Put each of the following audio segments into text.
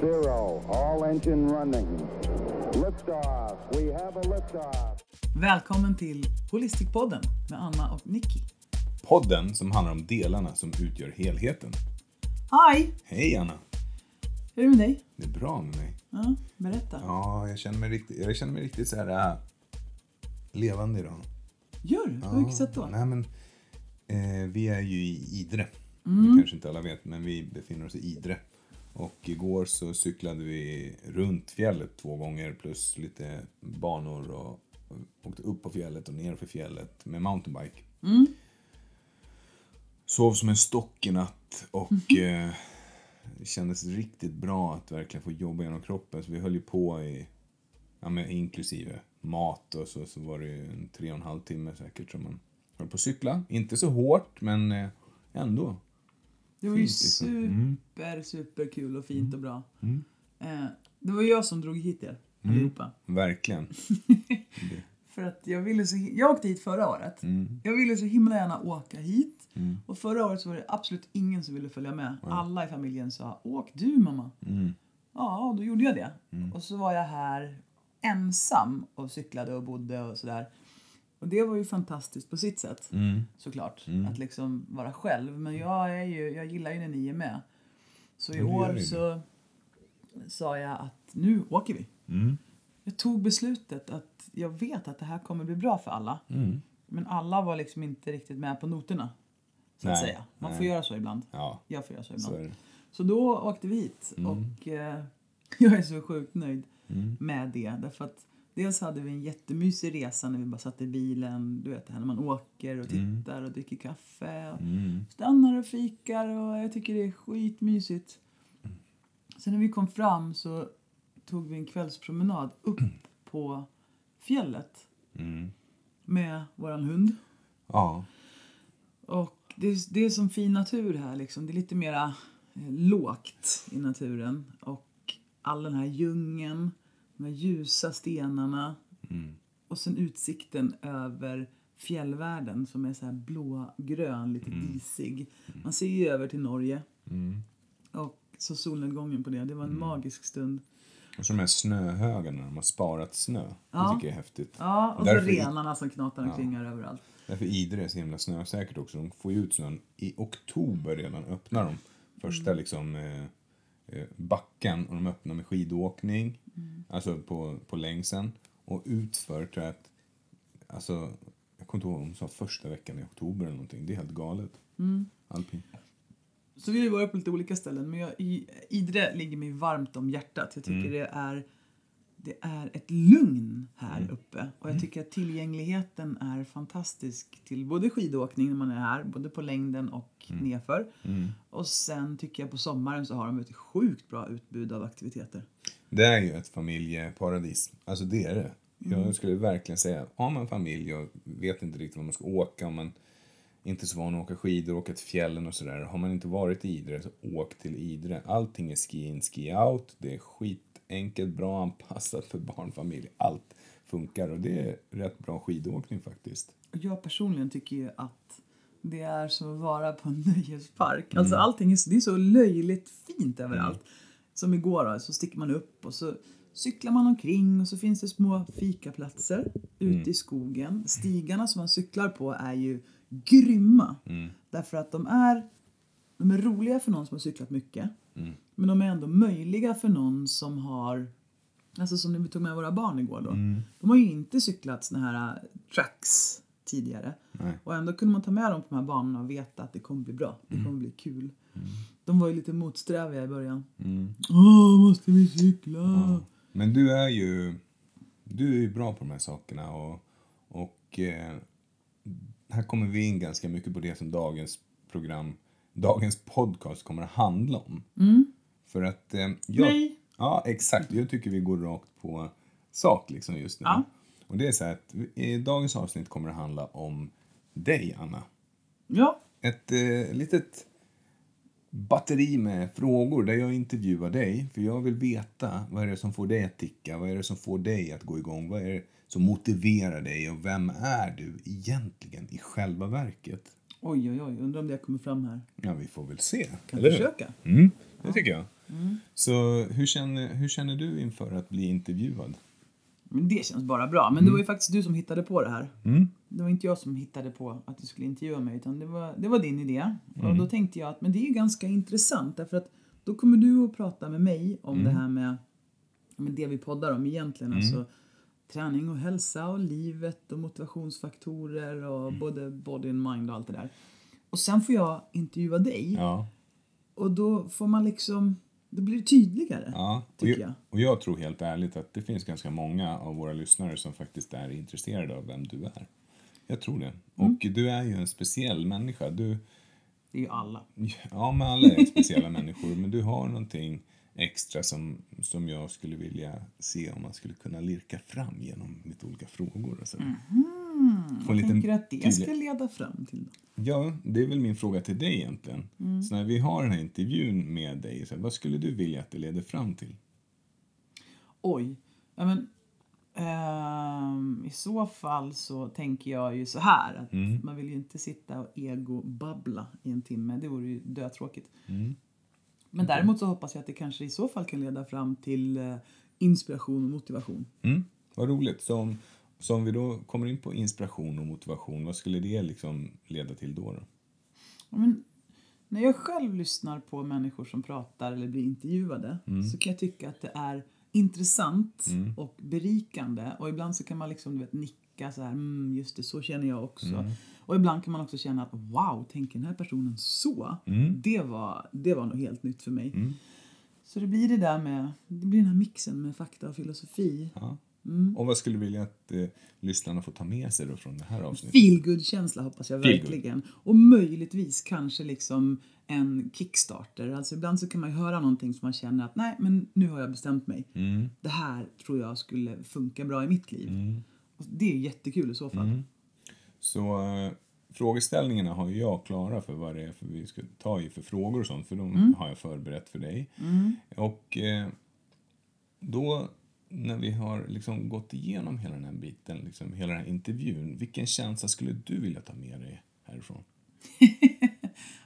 zero, all engine running. Liftoff, we have a liftoff. Välkommen till Holistikpodden med Anna och Nicky. Podden som handlar om delarna som utgör helheten. Hej! Hej Anna! Hur är det med dig? Det är bra med mig. Ja, berätta. Ja, jag känner mig riktigt, jag känner mig riktigt så här äh, levande idag. Gör du? På vilket sätt då? Nej, men, eh, vi är ju i Idre. Det kanske inte alla vet, men vi befinner oss i Idre. Och igår så cyklade vi runt fjället två gånger plus lite banor och, och åkte upp på fjället och ner för fjället med mountainbike. Sov som en stock i natt och eh, det kändes riktigt bra att verkligen få jobba genom kroppen. Så vi höll ju på i, ja, men inklusive mat och så, så var det ju en tre och en halv timme säkert som man höll på att cykla. Inte så hårt, men eh, ändå. Det var ju Fint, liksom. Mm. super, super kul och fint och bra. Eh, det var jag som drog hit er Mm. allihopa. Verkligen. För att jag ville så hi- Jag åkte hit förra året. Mm. Jag ville så himla gärna åka hit. Och förra året så var det absolut ingen som ville följa med. Alla i familjen sa Åk du mamma. Mm. Ja, och då gjorde jag det. Och så var jag här ensam och cyklade och bodde och sådär. Och det var ju fantastiskt på sitt sätt. Mm. Såklart. Att liksom vara själv. Men jag, är ju, jag gillar ju när ni är med. Så i det gör år ni. så sa jag att nu åker vi. Jag tog beslutet att jag vet att det här kommer bli bra för alla. Mm. Men alla var liksom inte riktigt med på noterna. Så att Nej, säga. Man nej. får göra så ibland. Ja, Jag får göra så ibland. så är det. Mm. Så då åkte vi hit och eh, jag är så sjukt nöjd med det. Därför att dels hade vi en jättemysig resa när vi bara satt i bilen. Du vet det här när man åker och Mm. tittar och dricker kaffe. Och Stannar och fikar och jag tycker det är skitmysigt. Sen när vi kom fram så tog vi en kvällspromenad upp på fjället. Med våran hund. Mm. Ja, Och det, är- det är som fin natur här liksom. Det är lite mera eh, lågt i naturen. Och all den här djungeln, de här ljusa stenarna. Och sen utsikten över fjällvärlden som är så här blågrön, lite disig. Man ser ju över till Norge. Och så solnedgången på det. Det var en magisk stund. och så de här snöhögarna, de har sparat snö. Ja. Det tycker jag är häftigt. Ja, och så Därför- renarna som knatar omkring här överallt. Därför Idre är så himla snösäkert också. De får ju ut snön i oktober redan, öppnar de första liksom eh, eh, backen och de öppnar med skidåkning, alltså på, på längsen. Och utför tror jag att, alltså, jag kommer inte ihåg om de sa första veckan i oktober eller någonting. Det är helt galet. Alpin. Så vi har ju varit på lite olika ställen, men jag, i, Idre ligger mig varmt om hjärtat. Jag tycker det, är, det är ett lugn här uppe. Och jag tycker att tillgängligheten är fantastisk till både skidåkning när man är här, både på längden och nedför. Och sen tycker jag på sommaren så har de ett sjukt bra utbud av aktiviteter. Det är ju ett familjeparadis. Alltså det är det. Jag skulle verkligen säga, har man familj och vet inte riktigt var man ska åka, om man inte är så van att åka skidor, åka till fjällen och sådär. Har man inte varit i Idre, så åk till Idre. Allting är ski-in, ski-out. Det är skitenkelt, bra anpassat för barnfamilj. Allt funkar och det är rätt bra skidåkning faktiskt. Och jag personligen tycker ju att det är som att vara på en nöjespark. Alltså allting är så, det är så löjligt fint överallt. Som igår då, så sticker man upp och så cyklar man omkring och så finns det små fikaplatser ute i skogen. Stigarna som man cyklar på är ju grymma. Därför att de är, de är roliga för någon som har cyklat mycket. Mm. Men de är ändå möjliga för någon som har Alltså som när vi tog med våra barn igår då. Mm. De har ju inte cyklat såna här äh, tracks tidigare. Och ändå kunde man ta med dem på de här banorna och veta att det kommer bli bra. Det Mm. kommer bli kul. De var ju lite motsträviga i början. Mm. Åh, måste vi cykla? Men du är ju, du är ju bra på de här sakerna och, och eh, här kommer vi in ganska mycket på det som dagens program, dagens podcast kommer att handla om. För att eh, jag, Mm. Nej. Ja, exakt. Jag tycker vi går rakt på sak liksom just nu. Ja. Och det är så här att eh, dagens avsnitt kommer att handla om dig, Anna Ja, ett eh, litet batteri med frågor där jag intervjuar dig. För jag vill veta vad är det som får dig att ticka, vad är det som får dig att gå igång, vad är det som motiverar dig och vem är du egentligen i själva verket? oj oj oj. Undrar om det kommer fram här. Ja, vi får väl se. Kan eller hur? försöka. Mm, det tycker jag. Så hur känner, hur känner du inför att bli intervjuad? Men det känns bara bra. Men Mm. det var ju faktiskt du som hittade på det här. Det var inte jag som hittade på att du skulle intervjua mig, utan det var, det var din idé. Mm. Och då tänkte jag att men det är ju ganska intressant, därför att då kommer du att prata med mig om Mm. det här med, med det vi poddar om egentligen. Alltså träning och hälsa och livet och motivationsfaktorer och Mm. både body and mind och allt det där. Och sen får jag intervjua dig Ja. och då får man liksom, då blir det tydligare. Ja, och Tycker jag, jag. och jag tror helt ärligt att det finns ganska många av våra lyssnare som faktiskt är intresserade av vem du är. Jag tror det. Mm. Och du är ju en speciell människa. Du, Det är ju alla. ja, men alla är speciella människor, men du har någonting extra som, som jag skulle vilja se om man skulle kunna lirka fram genom lite olika frågor Mm. och sådär. Få Jag en liten tänker att det tydlig- ska leda fram till något. Ja, det är väl min fråga till dig egentligen. Mm. Så när vi har den här intervjun med dig, så här, vad skulle du vilja att det leder fram till? Oj. Ja, men, ehm, I så fall så tänker jag ju så här. Att Man vill ju inte sitta och ego-babbla i en timme. Det vore ju dötråkigt. Men däremot så hoppas jag att det kanske i så fall kan leda fram till eh, inspiration och motivation. Mm, vad roligt. Så om, så om vi då kommer in på inspiration och motivation, vad skulle det liksom leda till då? då? Ja, men, när jag själv lyssnar på människor som pratar eller blir intervjuade så kan jag tycka att det är intressant och berikande. Och ibland så kan man liksom, du vet, nicka så här, mm, just det, så känner jag också. Och ibland kan man också känna att wow, tänker den här personen så? Det, var, det var nog helt nytt för mig. Så det blir det där med, det blir den här mixen med fakta och filosofi. Ja. Och vad skulle du vilja att eh, lyssnarna får ta med sig då från det här avsnittet? Feelgood-känsla hoppas jag Feelgood. verkligen. Och möjligtvis kanske liksom en kickstarter. Alltså ibland så kan man ju höra någonting som man känner att nej, men nu har jag bestämt mig. Det här tror jag skulle funka bra i mitt liv. Och det är jättekul i så fall. Så eh, frågeställningarna har ju jag klara för vad det är för vi ska ta i för frågor och sånt, för de har jag förberett för dig. Och eh, då när vi har liksom gått igenom hela den här biten, liksom, hela den här intervjun, vilken känsla skulle du vilja ta med dig härifrån?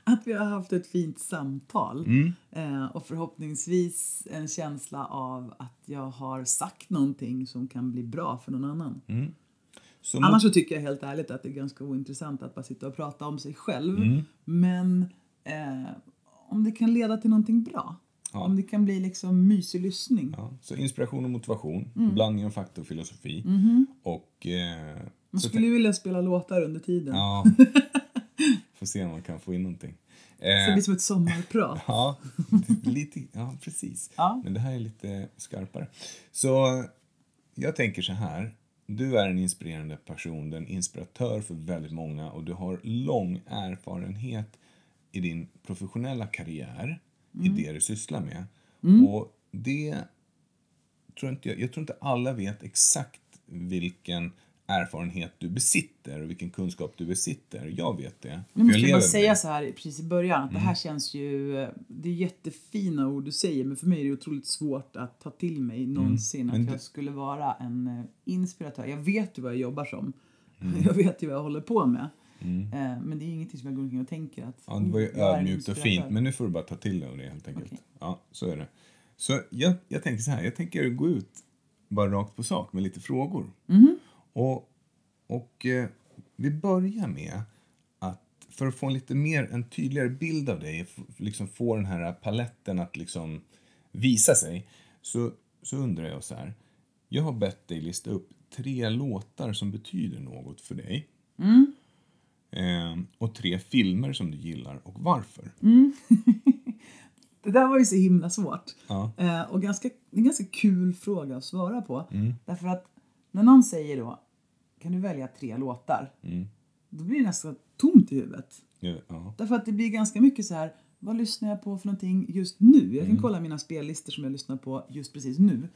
Att vi har haft ett fint samtal eh, och förhoppningsvis en känsla av att jag har sagt någonting som kan bli bra för någon annan. Så Annars så tycker jag helt ärligt att det är ganska ointressant att bara sitta och prata om sig själv. Mm. Men eh, om det kan leda till någonting bra. Ja. Om det kan bli liksom mysig lyssning. Ja, så inspiration och motivation, blandning av fakta och filosofi. Och... Eh, Man så skulle ju vilja spela låtar under tiden. ja. Får se om man kan få in någonting. Så det Eh, blir som ett sommarprat. ja, lite, ja, precis. Ja. Men det här är lite skarpare. Så jag tänker så här. Du är en inspirerande person, du är en inspiratör för väldigt många och du har lång erfarenhet i din professionella karriär, Mm. i det du sysslar med. Och det tror inte jag, jag tror inte alla vet exakt vilken erfarenhet du besitter och vilken kunskap du besitter. Jag vet det. för Nu måste lever Mm. jag bara med säga det. så här precis i början att det här känns ju... Det är jättefina ord du säger men för mig är det otroligt svårt att ta till mig någonsin Mm. Men att du- jag skulle vara en eh, inspiratör. Jag vet ju vad jag jobbar som. Mm. Jag vet ju vad jag håller på med. Eh, Men det är ju ingenting som jag går omkring och tänker att... Ja, det var ju "Oh, jag är en ödmjukt och inspiratör." fint, men nu får du bara ta till dig av det helt enkelt. Okej. Ja, så är det. Så jag, jag tänker så här, jag tänker gå ut bara rakt på sak med lite frågor. Och, och eh, vi börjar med att, för att få en lite mer, en tydligare bild av dig, f- liksom få den här paletten att liksom visa sig, så, så undrar jag så här. Jag har bett dig lista upp tre låtar som betyder något för dig. Ehm, och tre filmer som du gillar och varför. Det där var ju så himla svårt. Ja. Eh, och ganska, det är en ganska kul fråga att svara på. Mm. Därför att när någon säger då kan du välja tre låtar? Mm. Då blir det nästan tomt i huvudet. Ja, ja. Därför att det blir ganska mycket så här vad lyssnar jag på för någonting just nu? Jag kan kolla mina spellistor som jag lyssnar på just precis nu.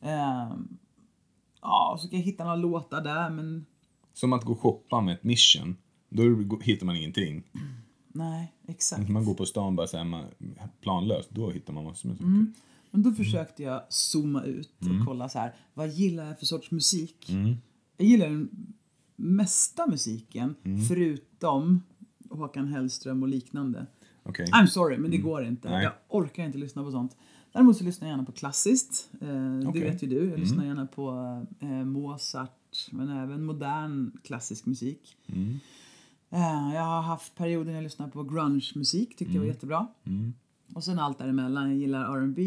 Ehm, ja, och så kan jag hitta några låtar där men Som att gå och shoppa med ett mission. Då go- hittar man ingenting. nej, exakt. När man går på stan bara så här, man, planlöst, då hittar man massor med saker. Mm. Men då försökte jag zooma ut och kolla så här, vad gillar jag för sorts musik? Jag gillar den mesta musiken förutom Håkan Hellström och liknande. Okej. I'm sorry, men det går inte. Mm. Nej. Jag orkar inte lyssna på sånt. Däremot så lyssnar jag gärna på klassiskt. Eh, Okej. Mm. Det vet ju du. Jag lyssnar gärna på eh, Mozart, men även modern klassisk musik. Mm. Eh, jag har haft perioder när jag lyssnade på grunge-musik, tyckte Mm. jag var jättebra. Och sen allt däremellan. Jag gillar R&B,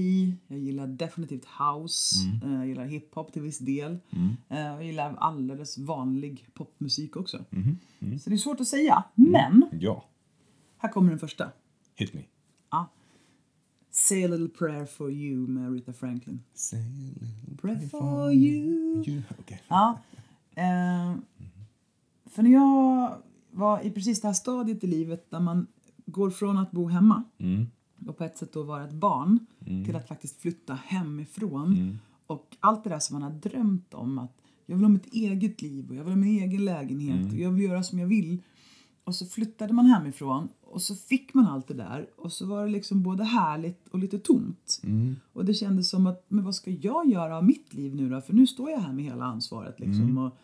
jag gillar definitivt house, Mm. eh, jag gillar hiphop till viss del. Eh, och jag gillar alldeles vanlig popmusik också. Mm. Så det är svårt att säga. Men, Ja. här kommer den första. Hit me. Say a little prayer for you med Aretha Franklin. Say a little Pray for you. you. Okej. Ja. Eh, för när jag var i precis det här stadiet i livet där man går från att bo hemma Mm, och på ett sätt då vara ett barn till att faktiskt flytta hemifrån. Och allt det där som man har drömt om att jag vill ha mitt eget liv och jag vill ha min egen lägenhet och jag vill göra som jag vill. Och så flyttade man hemifrån och så fick man allt det där och så var det liksom både härligt och lite tomt. Och det kändes som att, men vad ska jag göra av mitt liv nu då? För nu står jag här med hela ansvaret liksom. Och,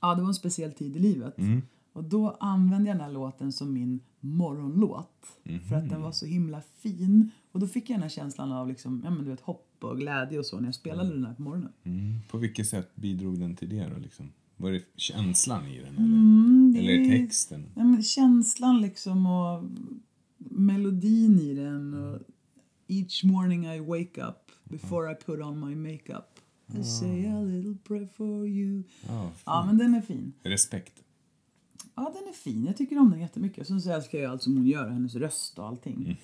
ja, det var en speciell tid i livet. Och då använde jag den här låten som min morgonlåt. För att den var så himla fin. Och då fick jag den här känslan av liksom, ja men du vet, hopp och glädje och så när jag spelade den här på morgonen. Mm. På vilket sätt bidrog den till det då liksom? Var det känslan i den eller? Mm, det Eller är- texten? Ja, men känslan liksom och melodin i den. Och Each morning I wake up before I put on my makeup. I say a little prayer for you. Ja, Ja, men den är fin. Respekt. Ja, den är fin. Jag tycker om den jättemycket. Sen så älskar jag allt som hon gör, hennes röst och allting.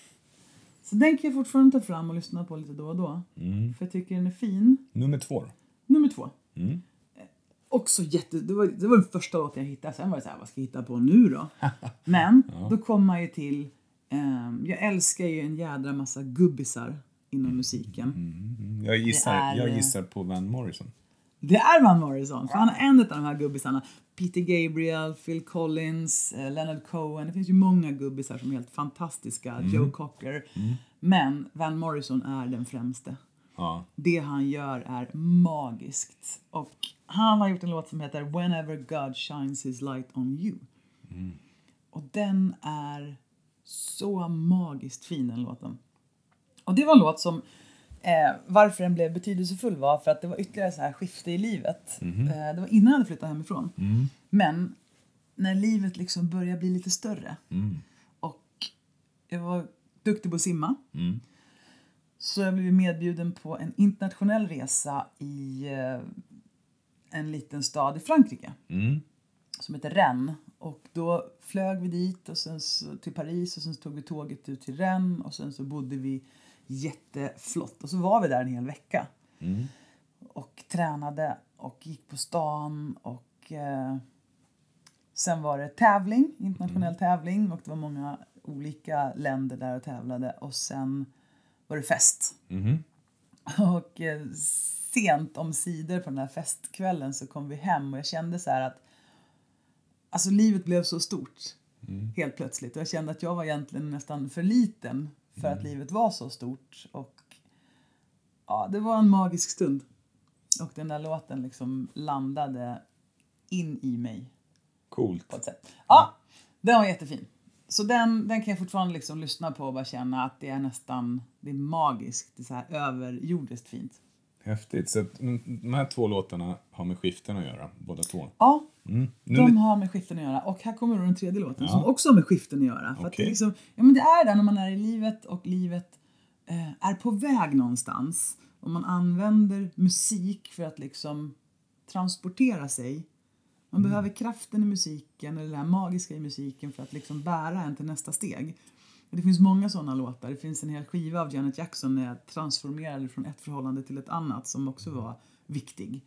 Så den kan jag fortfarande ta fram och lyssna på lite då och då. För jag tycker den är fin. Nummer två då. Nummer två. Eh, Också jätte... Det var, det var den första låten jag hittade. Sen var det så här, vad ska jag hitta på nu då? Men då kom man ju till... ehm, jag älskar ju en jädra massa gubbisar inom musiken. Mm, Jag gissar, är- jag gissar på Van Morrison. Det är Van Morrison, för han är en av de här gubbisarna. Peter Gabriel, Phil Collins, eh, Leonard Cohen. Det finns ju många gubbisar som är helt fantastiska. Joe Cocker. Men Van Morrison är den främste. Ja. Det han gör är magiskt. Och han har gjort en låt som heter Whenever God shines his light on you. Och den är så magiskt fin den låten. Och det var en låt som eh, varför den blev betydelsefull var för att det var ytterligare så här skifte i livet. Eh, det var innan jag hade flyttat hemifrån. Men när livet liksom började bli lite större och jag var duktig på att simma. Mm. Så jag blev medbjuden på en internationell resa i eh, en liten stad i Frankrike Mm. som heter Rennes. Och då flög vi dit och sen så till Paris och sen så tog vi tåget ut till Rennes och sen så bodde vi jätteflott. Och så var vi där en hel vecka. Mm. Och tränade och gick på stan och eh, sen var det tävling, internationell tävling och det var många olika länder där och tävlade och sen var det fest. Mhm. Och eh, sent om sidor på den här festkvällen så kom vi hem och jag kände så här att Alltså livet blev så stort helt plötsligt och jag kände att jag var egentligen nästan för liten för att livet var så stort och ja, det var en magisk stund. Och den där låten liksom landade in i mig Coolt. på ett sätt. Ja, den var jättefin. Så den, den kan jag fortfarande liksom lyssna på och bara känna att det är nästan, det är magiskt, det är så här överjordiskt fint. Häftigt. Så att, mm, de här två låtarna har med skiften att göra, båda två. Ja, Mm. Nummer... de har med skiften att göra. Och här kommer då den tredje låten som Ja. också har med skiften att göra. För att det, Okej. är liksom, ja, men det är där när man är i livet och livet eh, är på väg någonstans. Och man använder musik för att liksom transportera sig. Man Mm. behöver kraften i musiken, eller det här magiska i musiken för att liksom bära en till nästa steg. Och det finns många sådana låtar. Det finns en hel skiva av Janet Jackson när jag transformerade från ett förhållande till ett annat som också var viktig.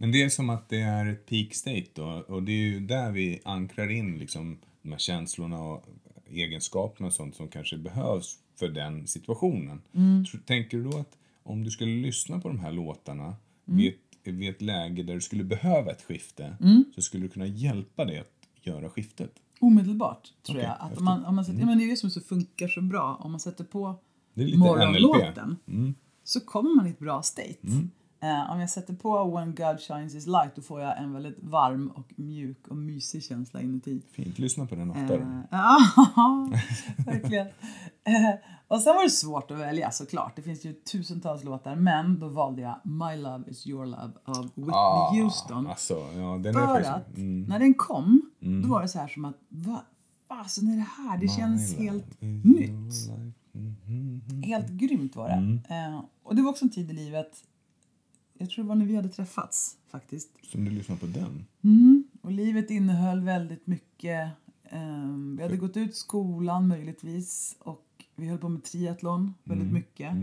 Men det är som att det är ett peak state då, och det är ju där vi ankrar in liksom de här känslorna och egenskaperna och sånt som kanske behövs för den situationen. Mm. Tror- Tänker du då att om du skulle lyssna på de här låtarna Mm. vid, ett, vid ett läge där du skulle behöva ett skifte Mm. så skulle du kunna hjälpa dig att göra skiftet? Omedelbart, tror Okej, Mm. jag. Att om man, om man sätter, ja, men det är det som så funkar så bra. Om man sätter på Det är lite NLP. Mm. morgonlåten så kommer man i ett bra state. Eh, om jag sätter på When God Shines His Light då får jag en väldigt varm och mjuk och mysig känsla inuti. Fint, lyssna på den Eh, oftare. Ja, verkligen. Eh, och sen var det svårt att välja såklart. Det finns ju tusentals låtar. Men då valde jag My Love Is Your Love av Whitney Ah, Houston. Alltså, ja, den är För faktiskt... Mm. att när den kom, då var det så här som att vad fasen är det här? Det känns My helt life is nytt. your life. Mm, mm, mm. Helt grymt var det. Eh, och det var också en tid i livet, jag tror det var när vi hade träffats faktiskt. Som du lyssnar på den? Och livet innehöll väldigt mycket. ehm, vi hade gått ut skolan möjligtvis och vi höll på med triathlon väldigt mycket.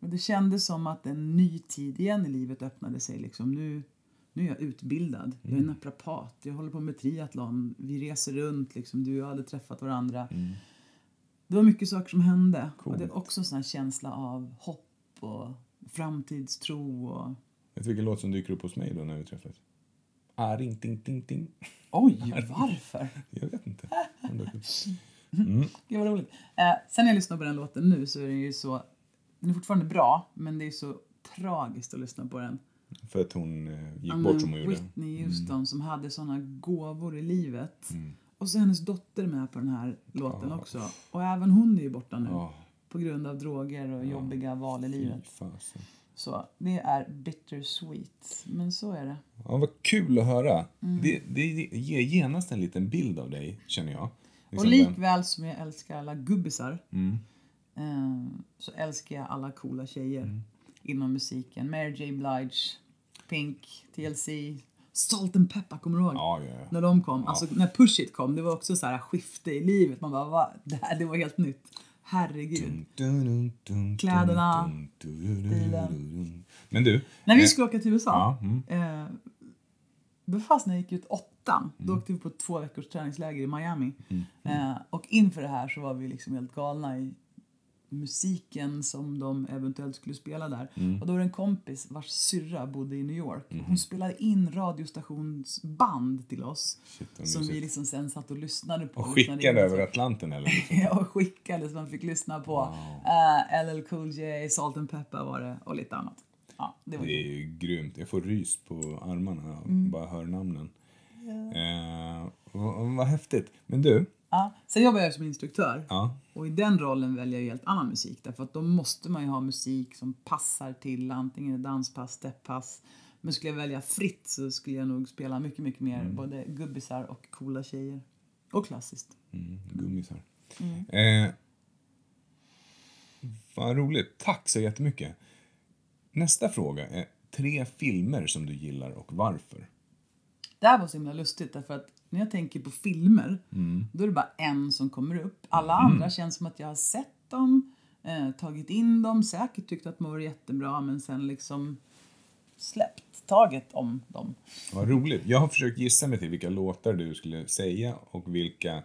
Och det kändes som att en ny tid igen i livet öppnade sig. Liksom. Nu, nu är jag utbildad, jag är naprapat, jag håller på med triathlon, vi reser runt, liksom. du och jag hade träffat varandra. Det var mycket saker som hände. Och det är också en sån här känsla av hopp och framtidstro. Och... Vet du vilken låt som dyker upp hos mig då när vi träffas? Ah, ring, ting, ting, ting. Oj, varför? Jag vet inte. Den dök upp. Gud vad roligt. Eh, sen när jag lyssnar på den låten nu så är den ju så... Den är fortfarande bra, men det är så tragiskt att lyssna på den. För att hon eh, gick Ja, men bort som hon gjorde. Mm. Whitney Houston som hade såna gåvor i livet. Och så är hennes dotter med på den här låten också. Och även hon är ju borta nu. Ja. På grund av droger och jobbiga val i Fy livet. fasen. Så det är bittersweet. Men så är det. Ja, vad kul att höra. Mm. Det, det ger genast en liten bild av dig, känner jag. Och Liksom den- likväl som jag älskar alla gubbisar Mm. eh, så älskar jag alla coola tjejer Mm. inom musiken. Mary J Blige, Pink, TLC, Salt and Pepper, kommer du ihåg? Ja, ja, ja. När de kom, alltså när Push It kom, det var också så här skifte i livet. Man bara, va? Det, här, det var helt nytt. Mm. Herregud. Kläderna, stilen. Men du. När vi eh, skulle åka till USA, Ja, mm. eh, då fast när jag gick ut åttan, Mm. då åkte vi på två veckors träningsläger i Miami. Eh, och inför det här så var vi liksom helt galna i musiken som de eventuellt skulle spela där. Mm. Och då var det en kompis vars syrra bodde i New York. Mm-hmm. Hon spelade in radiostationsband till oss. Shit, vad som vi mysigt. liksom sen satt och lyssnade på. Och lyssnade in skickade över så- Atlanten eller? och skickade så man fick lyssna på eh, LL Cool J, Salt and Pepper var det och lite annat. Ja, det var Det kul. är ju grymt. Jag får rys på armarna när jag bara hör namnen. Eh, vad, vad häftigt. Men du. Ja. Sen jobbar jag som instruktör Ja. och i den rollen väljer jag helt annan musik därför att då måste man ju ha musik som passar till antingen danspass, stepppass. Men skulle jag välja fritt så skulle jag nog spela mycket, mycket mer både gubbisar och coola tjejer. Och klassiskt. Mm, gummisar. Eh, vad roligt. Tack så jättemycket. Nästa fråga är tre filmer som du gillar och varför. Det här var så himla lustigt därför att när jag tänker på filmer då är det bara en som kommer upp. Alla andra känns som att jag har sett dem, eh, tagit in dem, säkert tyckt att de var jättebra men sen liksom släppt taget om dem. Vad roligt. Jag har försökt gissa mig till vilka låtar du skulle säga och vilka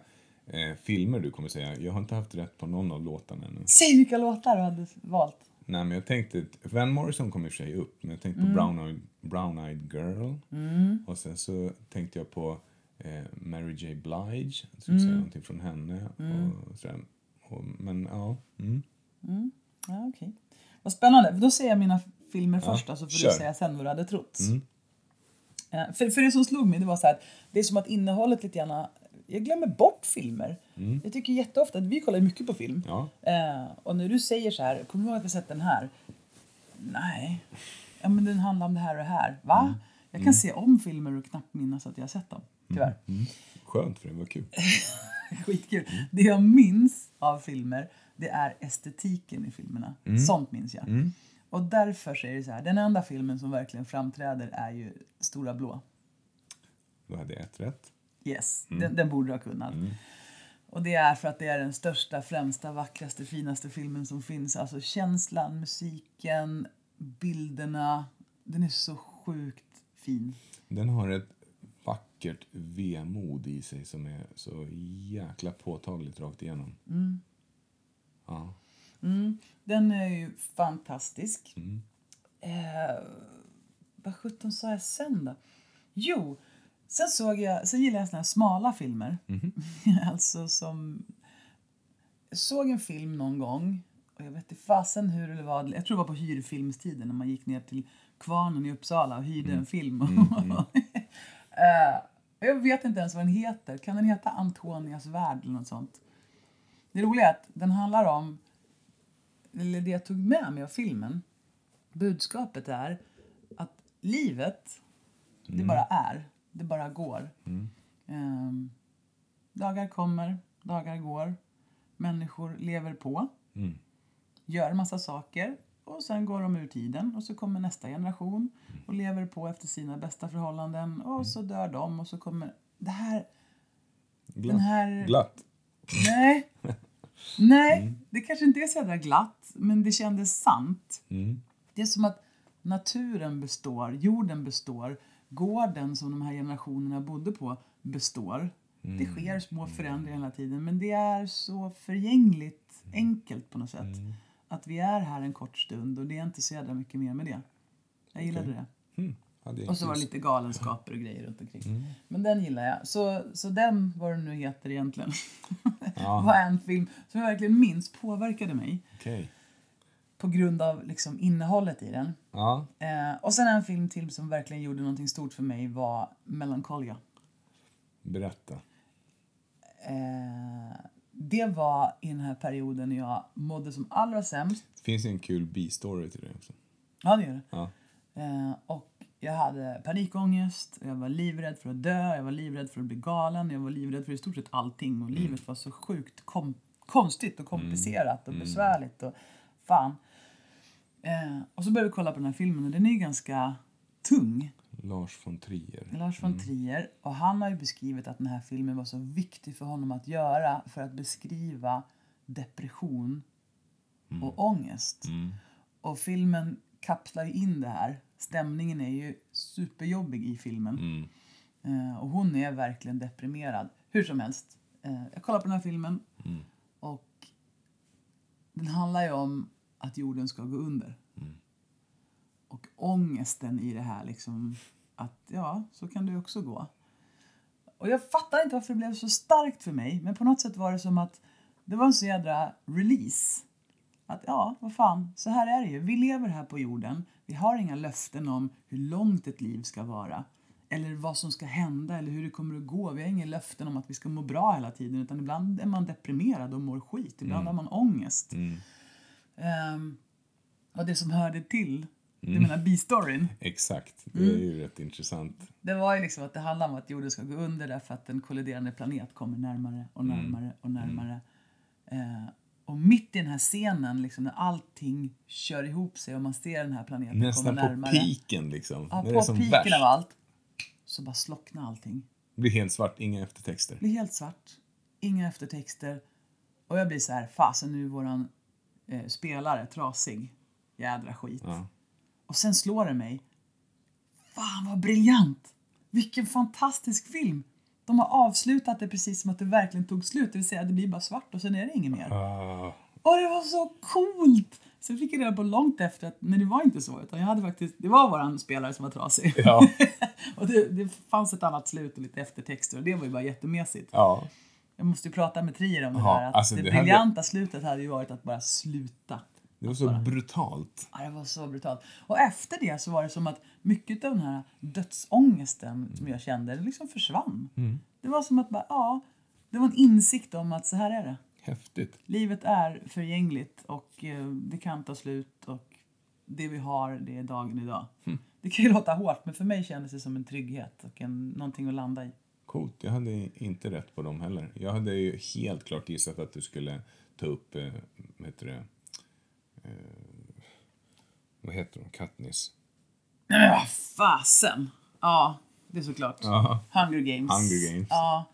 eh, filmer du kommer säga. Jag har inte haft rätt på någon av låtarna ännu. Säg vilka låtar du hade valt. Nej, men jag tänkte... att- Van Morrison kom i och för sig upp, men jag Mm. tänkte på Brown Eyed, Brown Eyed Girl. Och sen så tänkte jag på eh, Mary J Blige. Jag Mm. skulle säga någonting från henne. Och sådär. Och, men ja. Mm. Ja, okej. Vad spännande. Då säger jag mina filmer först, alltså får kör. du säga sen vad du hade trott. Eh, För, för det som slog mig det var så här att det är som att innehållet lite grann... Jag glömmer bort filmer. Jag tycker jätteofta att vi kollar ju mycket på film. Ja. Eh, och när du säger så här, kommer du ihåg att vi sett den här? Nej. Ja, men den handlar om det här och det här. Va? Jag kan se om filmer och knappt minnas att jag har sett dem. Tyvärr. Mm. Skönt, för det var kul. Skitkul. Det jag minns av filmer, det är estetiken i filmerna. Sånt minns jag. Och därför så är det så här, den enda filmen som verkligen framträder är ju Stora blå. Då hade jag ett rätt. Yes, den, den borde du ha kunnat. Och det är för att det är den största, främsta, vackraste, finaste filmen som finns. Alltså känslan, musiken, bilderna. Den är så sjukt fin. Den har ett vackert vemod i sig som är så jäkla påtagligt rakt igenom. Mm. Ja. Den är ju fantastisk. Eh, vad sjutton sa jag sen då? Jo, sen såg jag, sen gillar jag såna här smala filmer. alltså som... Jag såg en film någon gång och jag vet inte fasen hur det var. Jag tror det var på hyrfilmstiden när man gick ner till Kvarnen i Uppsala och hyrde en film. Eh, jag vet inte ens vad den heter. Kan den heta Antonias värld eller något sånt? Det roliga är att den handlar om, eller det jag tog med mig av filmen, budskapet är att livet, det bara är. Det bara går. Ehm, dagar kommer, dagar går. Människor lever på Mm. gör massa saker och sen går de ur tiden och så kommer nästa generation och lever på efter sina bästa förhållanden och så dör de och så kommer det här, Glatt. den här... Glatt. Nej. Nej, det kanske inte är så jävla glatt, men det kändes sant. Mm. Det är som att naturen består, jorden består, gården som de här generationerna bodde på består. Det sker små förändringar hela tiden, men det är så förgängligt enkelt på något sätt. Att vi är här en kort stund och det är inte så jävla mycket mer med det. Jag gillade det. Mm. Ja, det är Och så var det just- lite galenskaper och grejer runt omkring. Men den gillar jag. Så, så den, vad den nu heter egentligen, var en film som jag verkligen minns påverkade mig Okej. på grund av liksom innehållet i den. Ja. Eh, och sen en film till som verkligen gjorde någonting stort för mig var Melancholia. Berätta. Eh, det var i den här perioden när jag mådde som allra sämst. Det finns ju en kul bistory till det också. Ja, det gör det. Ja. Eh, och jag hade panikångest, jag var livrädd för att dö, jag var livrädd för att bli galen, jag var livrädd för i stort sett allting. Och livet var så sjukt kom- konstigt och komplicerat och besvärligt och fan. Eh, och så började vi kolla på den här filmen och den är ju ganska tung. Lars von Trier. Lars von Trier. Och han har ju beskrivit att den här filmen var så viktig för honom att göra för att beskriva depression och ångest. Och filmen kapslar ju in det här. Stämningen är ju superjobbig i filmen. Eh, och hon är verkligen deprimerad. Hur som helst. Eh, jag kollar på den här filmen. Och den handlar ju om att jorden ska gå under. Och ångesten i det här liksom. Att ja, så kan det ju också gå. Och jag fattar inte varför det blev så starkt för mig. Men på något sätt var det som att det var en så jädra release. Att ja, vad fan, så här är det ju. Vi lever här på jorden. Vi har inga löften om hur långt ett liv ska vara. Eller vad som ska hända eller hur det kommer att gå. Vi har inga löften om att vi ska må bra hela tiden. Utan ibland är man deprimerad och mår skit. Ibland har man ångest. Ehm, och det som hörde till, Mm. du menar bistoryn. Exakt. Mm. Det är ju rätt intressant. Det var ju liksom att det handlar om att jorden ska gå under därför att en kolliderande planet kommer närmare och Mm. närmare och närmare. Eh, och mitt i den här scenen, liksom, när allting kör ihop sig och man ser den här planeten Nästan komma på närmare. piken liksom. ja, När på piken av allt. Så bara slocknar allting. Det blir helt svart, inga eftertexter. Det blir helt svart. Inga eftertexter. Och jag blir så här, fasen nu är våran eh, spelare trasig. Jädra skit. Ja. Och sen slår det mig. Fan vad briljant! Vilken fantastisk film! De har avslutat det precis som att det verkligen tog slut, det vill säga det blir bara svart och sen är det inget mer. Ah, Och det var så coolt! Sen fick jag reda på långt efter att, men det var inte så, utan jag hade faktiskt, det var våran spelare som var trasig. Ja. och det, det fanns ett annat slut och lite eftertexter och det var ju bara jättemesigt. ja. Jag måste ju prata med Trier om Ja, det här, att alltså det, det här- briljanta slutet hade ju varit att bara sluta. Det var så brutalt. Ja, det var så brutalt. Och efter det så var det som att mycket av den här dödsångesten som jag kände, den liksom försvann. Mm. Det var som att bara, ja, det var en insikt om att så här är det. Häftigt. Livet är förgängligt och eh, det kan ta slut och det vi har, det är dagen idag. Mm. Det kan ju låta hårt, men för mig kändes det som en trygghet och en, någonting att landa i. Coolt. Jag hade inte rätt på dem heller. Jag hade ju helt klart gissat att du skulle ta upp, eh, vad heter det, eh, vad heter hon, Katniss? Nej men vad fasen! Ja, det är såklart. Ja. Hunger Games. Hunger Games. Ja,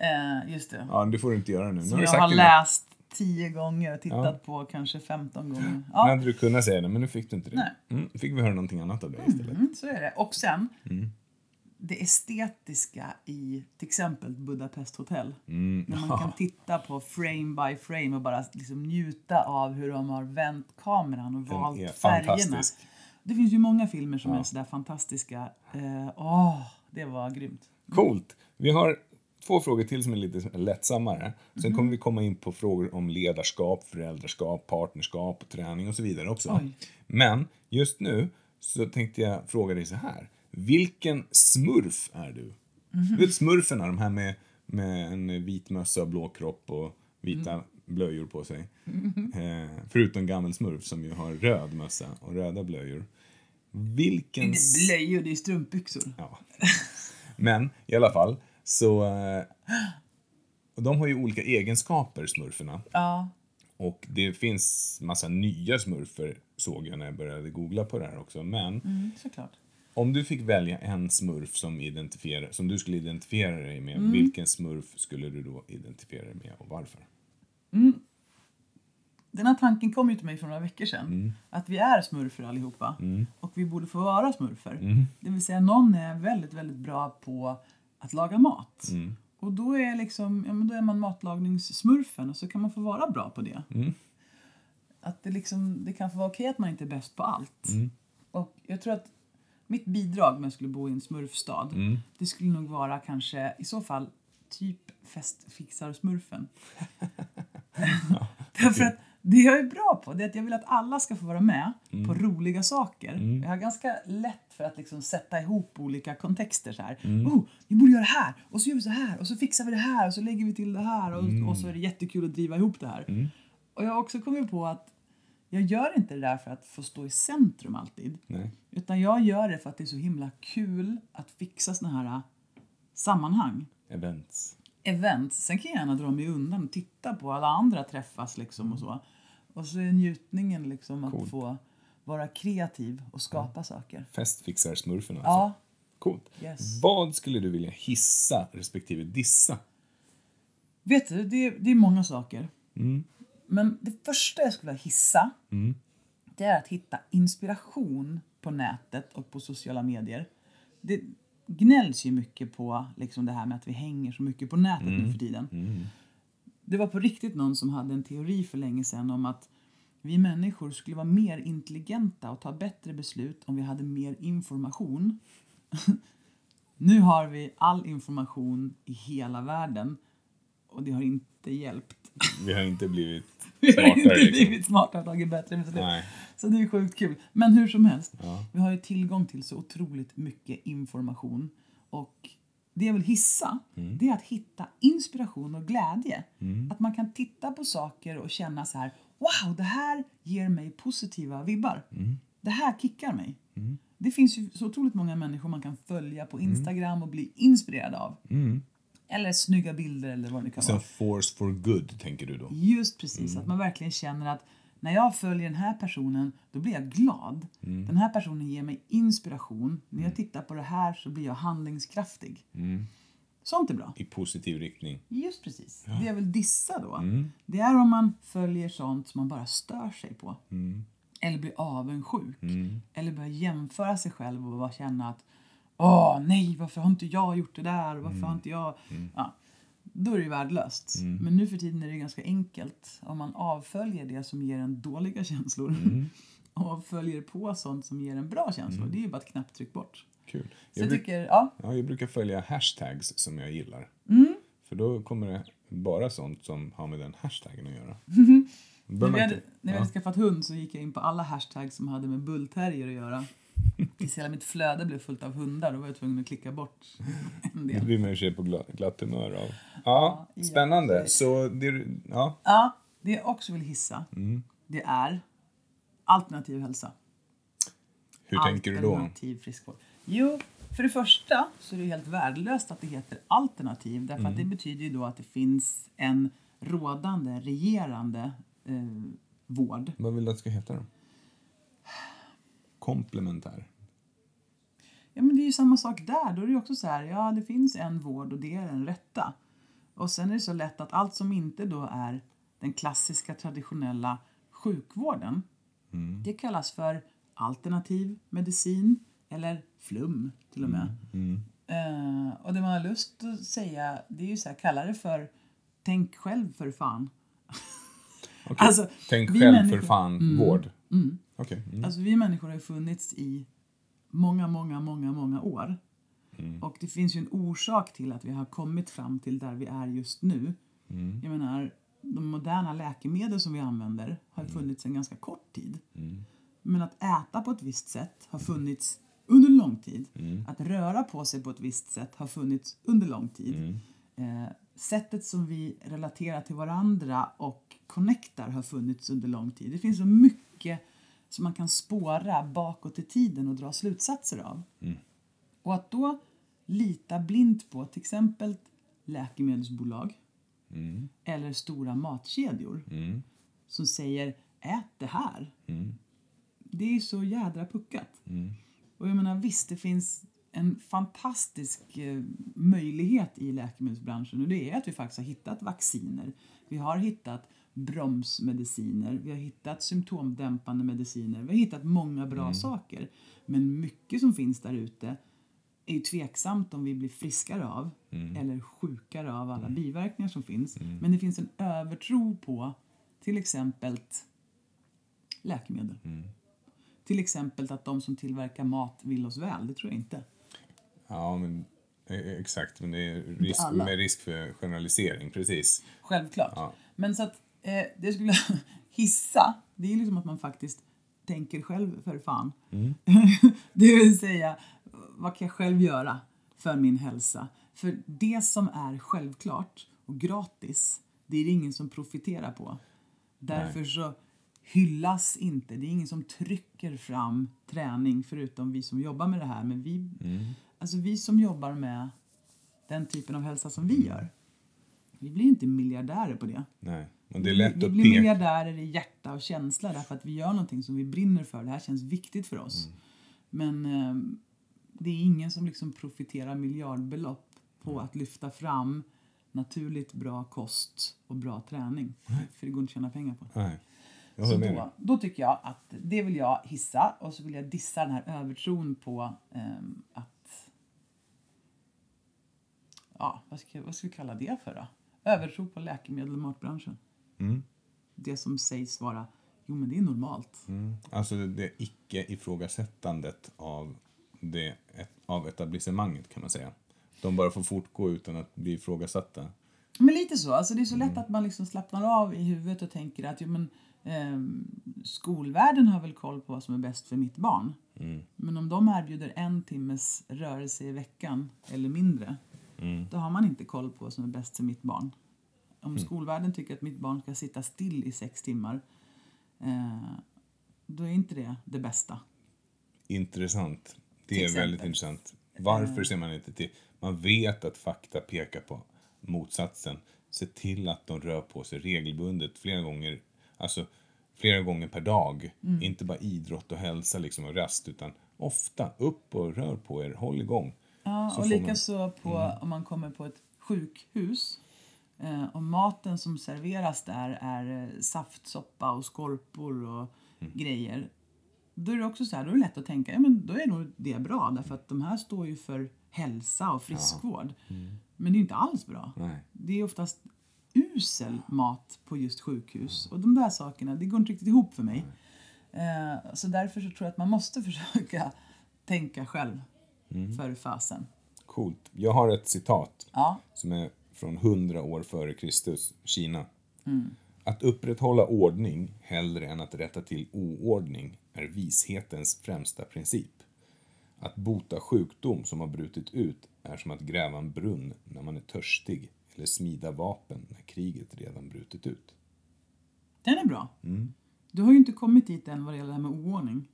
eh, just det. Ja, det får du inte göra nu. nu Som du jag sagt har det nu. läst tio gånger och tittat på kanske 15 gånger. Nu Ja, hade du kunnat säga det, men nu fick du inte det. Nej. Mm, fick vi höra någonting annat av dig istället. mm, så är det. Och sen, Mm. det estetiska i till exempel Budapest hotell. Mm. När man kan titta på frame by frame och bara liksom njuta av hur de har vänt kameran och är valt färgerna. fantastisk. Det finns ju många filmer som är sådär fantastiska. Eh, Åh, det var grymt. Coolt! Vi har två frågor till som är lite lättsammare. Sen Mhm. kommer vi komma in på frågor om ledarskap, föräldraskap, partnerskap, träning och så vidare också. Oj. Men just nu så tänkte jag fråga dig så här. Vilken smurf är du? Mhm. Du vet smurferna, de här med, med en vit mössa och blå kropp och vita Mm. blöjor på sig. Mhm. Eh, förutom gammelsmurf som ju har röd mössa och röda blöjor. Det Vilken... är blöjor, det är strumpbyxor. Ja. Men i alla fall, så... eh, Och de har ju olika egenskaper, smurferna. Ja. Och det finns massa nya smurfer, såg jag när jag började googla på det här också. Men Mm, såklart. om du fick välja en smurf som, identifiera, som du skulle identifiera dig med, Mm. vilken smurf skulle du då identifiera dig med och varför? Den här tanken kom ju till mig för några veckor sedan. Att vi är smurfer allihopa. Och vi borde få vara smurfer. Det vill säga någon är väldigt, väldigt bra på att laga mat. Och då är, liksom, ja, men då är man matlagningssmurfen och så kan man få vara bra på det. Att det, liksom, det kan få vara okej att man inte är bäst på allt. Och jag tror att mitt bidrag om jag skulle bo i en smurfstad det skulle nog vara kanske i så fall typ festfixar-smurfen. Därför att det jag är bra på det är att jag vill att alla ska få vara med på roliga saker. Jag har ganska lätt för att liksom sätta ihop olika kontexter. Så här. Oh, vi borde göra det här, och så gör vi så här, och så fixar vi det här, och så lägger vi till det här och, och så är det jättekul att driva ihop det här. Och jag har också kommit på att jag gör inte det där för att få stå i centrum alltid. Nej. Utan jag gör det för att det är så himla kul att fixa såna här äh, sammanhang Events. event. Sen kan jag gärna dra mig undan och titta på alla andra träffas liksom och så. Och så är njutningen liksom att få vara kreativ och skapa saker. Alltså, Festfixar-smurfen alltså. Ja, Coolt. Yes. Vad skulle du vilja hissa respektive dissa? vet du, det, är- det är många saker. Men det första jag skulle vilja hissa, det är att hitta inspiration på nätet och på sociala medier. Det gnälls ju mycket på liksom det här med att vi hänger så mycket på nätet nu för tiden. Det var på riktigt någon som hade en teori för länge sedan om att vi människor skulle vara mer intelligenta och ta bättre beslut om vi hade mer information. nu har vi all information i hela världen och det har inte hjälpt. Vi har inte blivit Vi har inte smartare liksom. blivit smartare och tagit bättre beslut. Nej. Så det är sjukt kul. Men hur som helst, Ja. vi har ju tillgång till så otroligt mycket information. Och det jag vill hissa, Mm. det är att hitta inspiration och glädje. Att man kan titta på saker och känna så här, wow, det här ger mig positiva vibbar. Mm. Det här kickar mig. Det finns ju så otroligt många människor man kan följa på Mm. Instagram och bli inspirerad av. Eller snygga bilder eller vad det nu kan vara. Sen force for good, tänker du då? Just precis, att man verkligen känner att när jag följer den här personen, då blir jag glad. Den här personen ger mig inspiration. När jag tittar på det här så blir jag handlingskraftig. Sånt är bra. I positiv riktning. Just precis. Det jag vill dissa då, Mm. det är om man följer sånt som man bara stör sig på. Mm. Eller blir avundsjuk. Eller börjar jämföra sig själv och bara känna att Åh nej, varför har inte jag gjort det där? Varför Mm. har inte jag... Ja, då är det ju värdelöst. Men nu för tiden är det ganska enkelt. Om man avföljer det som ger en dåliga känslor Mm. och följer på sånt som ger en bra känslor, det är ju bara ett knapptryck bort. Kul. Så Mm. Jag jag bruk- tycker, ja, Ja, jag brukar följa hashtags som jag gillar. Mm. För då kommer det bara sånt som har med den hashtaggen att göra. Då När behöver vi, man hade, inte- när vi ja. hade skaffat hund så gick jag in på alla hashtags som hade med bullterrier att göra. Tills hela mitt flöde blev fullt av hundar, då var jag tvungen att klicka bort en Det del. blir man ju sig på glatt, glatt humör av. Ja, Ja, spännande. ja. Så det, ja, Ja, det jag också vill hissa, Mm. det är alternativ hälsa. hur tänker du då? Alternativ friskvård. Jo, för det första så är det ju helt värdelöst att det heter alternativ. Därför att det Mm. betyder ju då att det finns en rådande, regerande eh, vård. Vad vill du att det ska heta då? Komplementär. Ja, men det är ju samma sak där. Då är det ju också så här, ja det finns en vård och det är den rätta. Och sen är det så lätt att allt som inte då är den klassiska traditionella sjukvården, Mm. det kallas för alternativ medicin eller flum till och med. Mm. Eh, och det man har lust att säga, det är ju så här, kalla det för tänk själv för fan. Okej. Alltså, Tänk vi själv för människor- Mm. fan, vård. Okej. Mm. Alltså vi människor har ju funnits i många, många, många, många år. Och det finns ju en orsak till att vi har kommit fram till där vi är just nu. Jag menar, de moderna läkemedel som vi använder har funnits en ganska kort tid. Men att äta på ett visst sätt har funnits under lång tid. Att röra på sig på ett visst sätt har funnits under lång tid. Eh, sättet som vi relaterar till varandra och connectar har funnits under lång tid. Det finns så mycket som man kan spåra bakåt i tiden och dra slutsatser av. Och att då lita blint på till exempel läkemedelsbolag eller stora matkedjor som säger ät det här. Det är så jädra puckat. Och jag menar visst, det finns en fantastisk eh, möjlighet i läkemedelsbranschen och det är att vi faktiskt har hittat vacciner. Vi har hittat bromsmediciner, vi har hittat symptomdämpande mediciner, vi har hittat många bra saker. Men mycket som finns där ute är ju tveksamt om vi blir friskare av eller sjukare av alla biverkningar som finns. Men det finns en övertro på till exempel läkemedel. Till exempel att de som tillverkar mat vill oss väl, det tror jag inte. Ja, men eh, exakt. Men det är risk, alla. med risk för generalisering, precis. Självklart. Ja. Men så att eh, det skulle jag hissa, det är liksom att man faktiskt tänker själv för fan. det vill säga, vad kan jag själv göra för min hälsa? För det som är självklart och gratis, det är det ingen som profiterar på. Därför så hyllas inte, det är ingen som trycker fram träning förutom vi som jobbar med det här. Men vi, alltså vi som jobbar med den typen av hälsa som vi gör, vi blir inte miljardärer på det. Nej. Men det är lätt Vi att Mm, blir peka... miljardärer i hjärta och känsla därför att vi gör någonting som vi brinner för. Det här känns viktigt för oss. Mm. Men eh, det är ingen som liksom profiterar miljardbelopp på att lyfta fram naturligt bra kost och bra träning. För det går inte att tjäna pengar på. Nej. Jag Så håller med dig. då, då tycker jag att det vill jag hissa och så vill jag dissa den här övertron på ehm, att... Ja, vad ska, vad ska vi kalla det för då? Övertro på läkemedel och matbranschen. Mm. Det som sägs vara, jo men det är normalt. Mm. Alltså det, det icke-ifrågasättandet av, det, ett, av etablissemanget kan man säga. De bara får fortgå utan att bli ifrågasatta. Men lite så, alltså det är så lätt att man liksom slappnar av i huvudet och tänker att jo, men, ehm, skolvärlden har väl koll på vad som är bäst för mitt barn. Men om de erbjuder en timmes rörelse i veckan eller mindre, då har man inte koll på vad som är bäst för mitt barn. Om skolvärlden tycker att mitt barn ska sitta still i sex timmar, eh, då är inte det det bästa. Intressant. Till Det är exempel. Mm. väldigt intressant. Varför ser man inte till? Man vet att fakta pekar på motsatsen. Se till att de rör på sig regelbundet flera gånger, alltså flera gånger per dag. Mm. Inte bara idrott och hälsa liksom och rast utan ofta upp och rör på er, håll igång. Ja, Så och får man- Mm. likaså på om man kommer på ett sjukhus eh, och maten som serveras där är eh, saftsoppa och skorpor och Mm. grejer. Då är det också så här, då är det lätt att tänka, ja men då är nog det bra därför att de här står ju för hälsa och friskvård. Men det är ju inte alls bra. Mm. Nej. Det är oftast usel mat på just sjukhus Mm. och de där sakerna, det går inte riktigt ihop för mig. Eh, så därför så tror jag att man måste försöka tänka själv. Mm. För fasen. Coolt. Jag har ett citat Ja. som är från 100 år före Kristus, Kina. Mm. Att upprätthålla ordning hellre än att rätta till oordning är vishetens främsta princip. Att bota sjukdom som har brutit ut är som att gräva en brunn när man är törstig eller smida vapen när kriget redan brutit ut. Den är bra. Mm. Du har ju inte kommit dit än vad det gäller det här med oordning.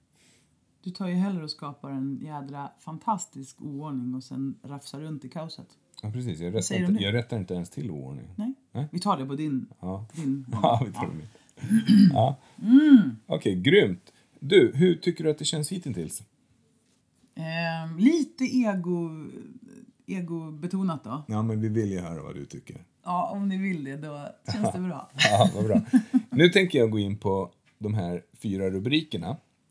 Du tar ju hellre och skapar en jädra fantastisk oordning och sen rafsar runt i kaoset. Ja, precis. Jag rättar, säger du inte, nu? jag rättar inte ens till oordning. Nej. Nej. Vi tar det på din... Ja. din Ja, vi tar det med. Ja. Mm. Okej, grymt. Du, hur tycker du att det känns hittills? Ehm, lite ego, egobetonat då. Ja, men vi vill ju höra vad du tycker. Ja, om ni vill det då känns det bra. Ja, vad bra. Nu tänker jag gå in på de här fyra rubrikerna.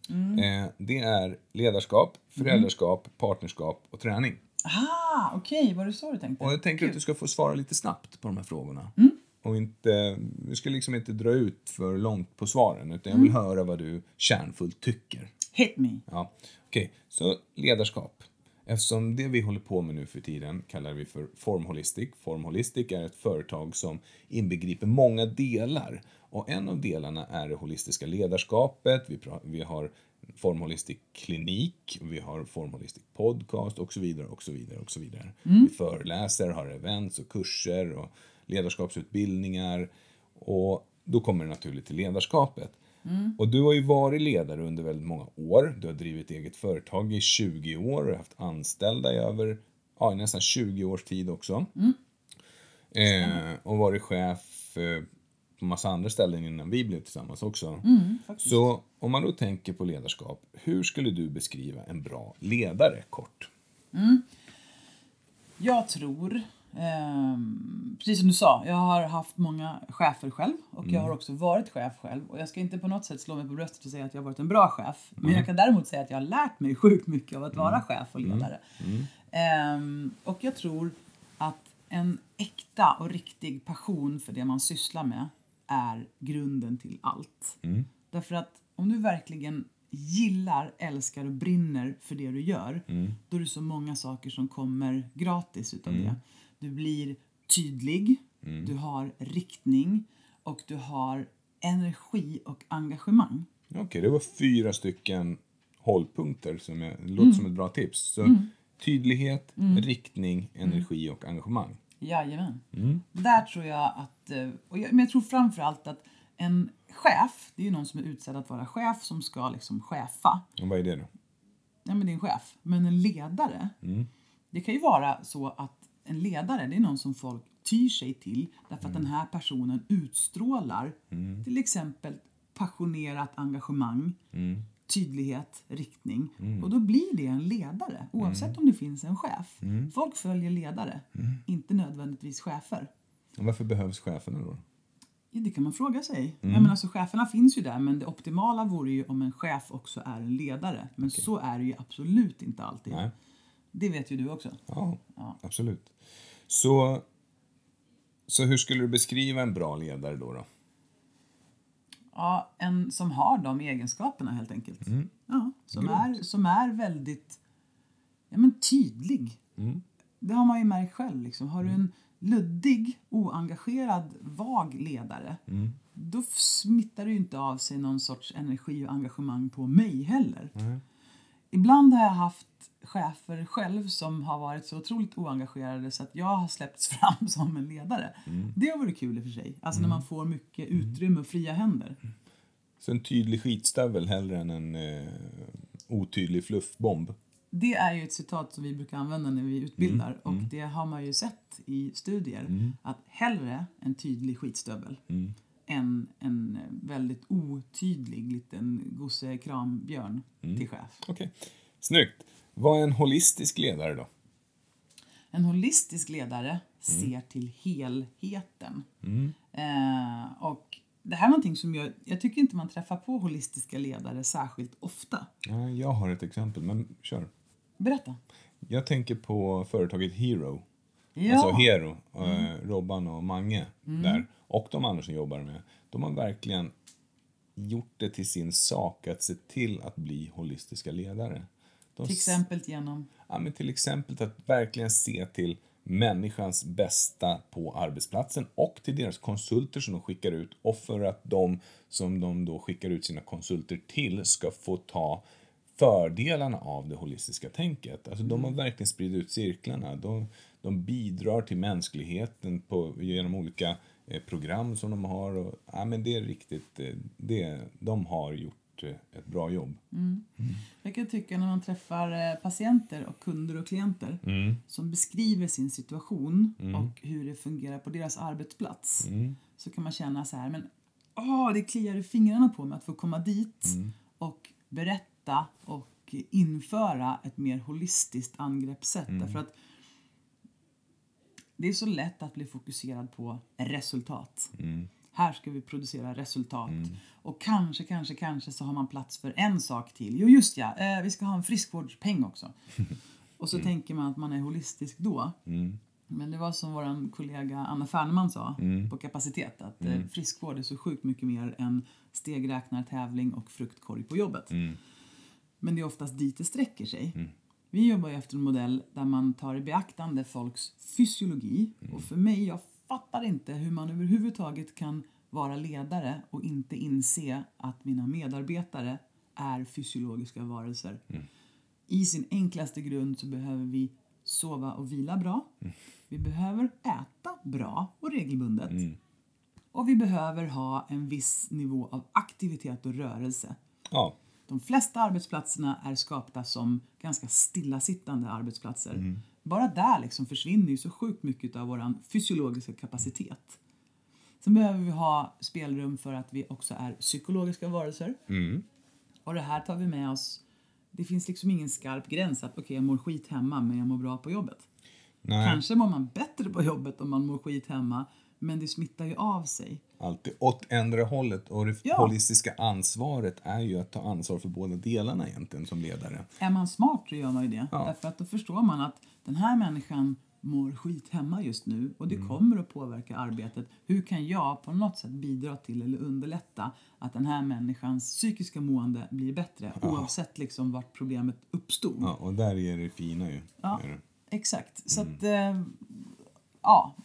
Eh, det är ledarskap, föräldraskap, partnerskap och träning. Ah, okej, var det så du tänkte? Och jag tänker att du ska få svara lite snabbt på de här frågorna. Och inte, vi ska liksom inte dra ut för långt på svaren, utan jag vill höra vad du kärnfullt tycker. Hit me. Ja. Okej, så ledarskap. Eftersom det vi håller på med nu för tiden kallar vi för formholistic. Formholistic är ett företag som inbegriper många delar. Och en av delarna är det holistiska ledarskapet, vi, pra- vi har formholistisk klinik, vi har formholistisk podcast och så vidare och så vidare och så vidare. Vi föreläser, har events och kurser och ledarskapsutbildningar och då kommer det naturligt till ledarskapet. Och du har ju varit ledare under väldigt många år. Du har drivit eget företag i 20 år och haft anställda i över, ja, i nästan 20 års tid också. Eh, och varit chef eh, på massa andra ställen innan vi blev tillsammans också. Så om man då tänker på ledarskap, hur skulle du beskriva en bra ledare kort? Jag tror, ehm, precis som du sa, jag har haft många chefer själv och jag har också varit chef själv. Och jag ska inte på något sätt slå mig på bröstet och säga att jag har varit en bra chef. Men jag kan däremot säga att jag har lärt mig sjukt mycket av att vara chef och ledare. Ehm, och jag tror att en äkta och riktig passion för det man sysslar med är grunden till allt. Därför att om du verkligen gillar, älskar och brinner för det du gör, då är det så många saker som kommer gratis utav det. Du blir tydlig, du har riktning och du har energi och engagemang. Okej, det var fyra stycken hållpunkter som jag, det låter som ett bra tips. Så tydlighet, riktning, energi och engagemang. Jajamän. Där tror jag att, eh, och jag, men jag tror framförallt att en chef, det är ju någon som är utsedd att vara chef som ska liksom chefa. Och vad är det då? ja, men din chef, men en ledare. Det kan ju vara så att en ledare, det är någon som folk tyr sig till därför att den här personen utstrålar till exempel passionerat engagemang, tydlighet, riktning. Och då blir det en ledare, oavsett om det finns en chef. Folk följer ledare, inte nödvändigtvis chefer. Och varför behövs cheferna då? Ja, det kan man fråga sig. Jag menar, alltså, cheferna finns ju där, men det optimala vore ju om en chef också är en ledare. Men så är det ju absolut inte alltid. Nej. Det vet ju du också. Ja, absolut. Så, så hur skulle du beskriva en bra ledare då? då? Ja, en som har de egenskaperna helt enkelt. Ja, som, är, som är väldigt ja, men tydlig. Det har man ju märkt själv. Liksom. Har du en luddig, oengagerad, vag ledare då f- smittar du ju inte av sig någon sorts energi och engagemang på mig heller. Ibland har jag haft chefer själv som har varit så otroligt oengagerade så att jag har släppts fram som en ledare. Det vore kul i och för sig. Alltså när man får mycket utrymme och fria händer. Så en tydlig skitstövel hellre än en eh, otydlig fluffbomb. Det är ju ett citat som vi brukar använda när vi utbildar och det har man ju sett i studier att hellre en tydlig skitstövel än en väldigt otydlig liten gossekrambjörn till chef. Okej, snyggt. Vad är en holistisk ledare då? En holistisk ledare ser till helheten. Eh, och det här är någonting som jag, jag tycker inte man träffar på holistiska ledare särskilt ofta. Ja, jag har ett exempel, men kör. Berätta. Jag tänker på företaget Hero. Ja. Mm. Alltså Hero, eh, Robban och Mange där. Och de andra som jobbar med. De har verkligen gjort det till sin sak att se till att bli holistiska ledare. De Till s- exempel genom Ja, men till exempel att verkligen se till människans bästa på arbetsplatsen och till deras konsulter som de skickar ut och för att de som de då skickar ut sina konsulter till ska få ta fördelarna av det holistiska tänket. Alltså de har verkligen spridit ut cirklarna. De, de bidrar till mänskligheten på, genom olika eh, program som de har. Och, ja, men det är riktigt, eh, det, de har gjort eh, ett bra jobb. Jag kan tycka när man träffar eh, patienter och kunder och klienter som beskriver sin situation och hur det fungerar på deras arbetsplats så kan man känna så här, men åh, det kliar i fingrarna på mig att få komma dit och berätta och införa ett mer holistiskt angreppssätt. Därför att det är så lätt att bli fokuserad på resultat. Här ska vi producera resultat. Och kanske, kanske, kanske så har man plats för en sak till. Jo, just ja, eh, vi ska ha en friskvårdspeng också. Och så tänker man att man är holistisk då. Men det var som vår kollega Anna Fernman sa på Kapacitet att mm. friskvård är så sjukt mycket mer än stegräknartävling och fruktkorg på jobbet. Men det är oftast dit det sträcker sig. Vi jobbar ju efter en modell där man tar i beaktande folks fysiologi. Och för mig, jag fattar inte hur man överhuvudtaget kan vara ledare och inte inse att mina medarbetare är fysiologiska varelser. I sin enklaste grund så behöver vi sova och vila bra. Vi behöver äta bra och regelbundet. Och vi behöver ha en viss nivå av aktivitet och rörelse. Ja. De flesta arbetsplatserna är skapta som ganska stillasittande arbetsplatser. Bara där liksom försvinner ju så sjukt mycket av vår fysiologiska kapacitet. Sen behöver vi ha spelrum för att vi också är psykologiska varelser. Och det här tar vi med oss. Det finns liksom ingen skarp gräns att okej, jag mår skit hemma men jag mår bra på jobbet. Nej, Kanske mår man bättre på jobbet om man mår skit hemma men det smittar ju av sig. alltid åt ändra hållet. Och det Ja. holistiska ansvaret är ju att ta ansvar för båda delarna egentligen som ledare. Är man smart så gör man ju det. Ja. Därför att då förstår man att den här människan mår skit hemma just nu och det kommer att påverka arbetet. Hur kan jag på något sätt bidra till eller underlätta att den här människans psykiska mående blir bättre oavsett liksom vart problemet uppstod? Ja, och där är det fina ju. Ja, Är det. exakt. Så att, eh, ja,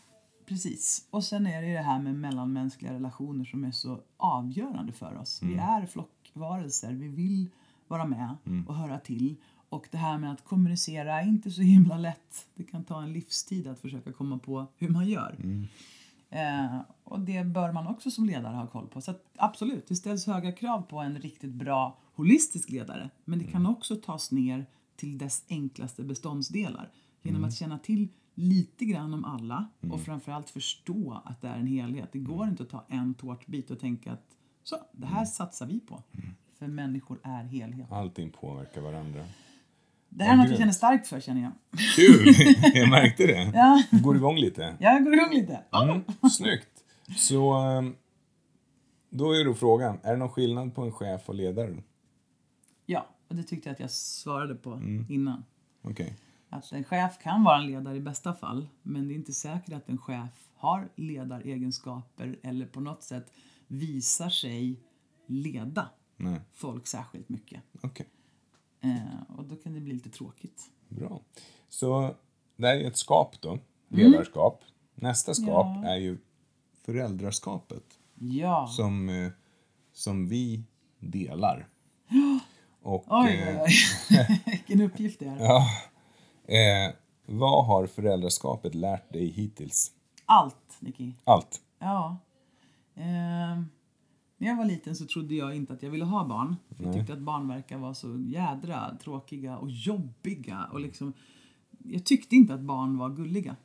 precis. Och sen är det ju det här med mellanmänskliga relationer som är så avgörande för oss. Vi är flockvarelser, vi vill vara med och höra till. Och det här med att kommunicera är inte så himla lätt. Det kan ta en livstid att försöka komma på hur man gör. Eh, och det bör man också som ledare ha koll på. Så att, absolut, det ställs höga krav på en riktigt bra holistisk ledare. Men det kan också tas ner till dess enklaste beståndsdelar. Genom att känna till lite grann om alla och framförallt förstå att det är en helhet. Det går inte att ta en tårtbit och tänka att så, det här satsar vi på. För människor är helhet. Allting påverkar varandra. Det här är något jag grymt. känner starkt för känner jag. Kul! Jag märkte det. Ja. Går igång lite. Jag går igång lite. Mm, snyggt. Så ehm, då är då frågan, är det någon skillnad på en chef och ledare? Ja, och det tyckte jag att jag svarade på innan. Okej. Att Alltså, en chef kan vara en ledare i bästa fall, men det är inte säkert att en chef har ledaregenskaper eller på något sätt visar sig leda Nej, folk särskilt mycket. okej. Eh, och då kan det bli lite tråkigt. Bra. Så det här är ett skap Mm. då, ledarskap. Nästa skap är ju föräldraskapet Ja, som, eh, som vi delar. Och, oj, eh, oj, oj. Vilken uppgift det är. Eh, vad har föräldraskapet lärt dig hittills? Allt, Nicky. Allt. Ja. Ehm, när jag var liten så trodde jag inte att jag ville ha barn. För jag tyckte att barnverkar var så jädra tråkiga och jobbiga. Och liksom, jag tyckte inte att barn var gulliga.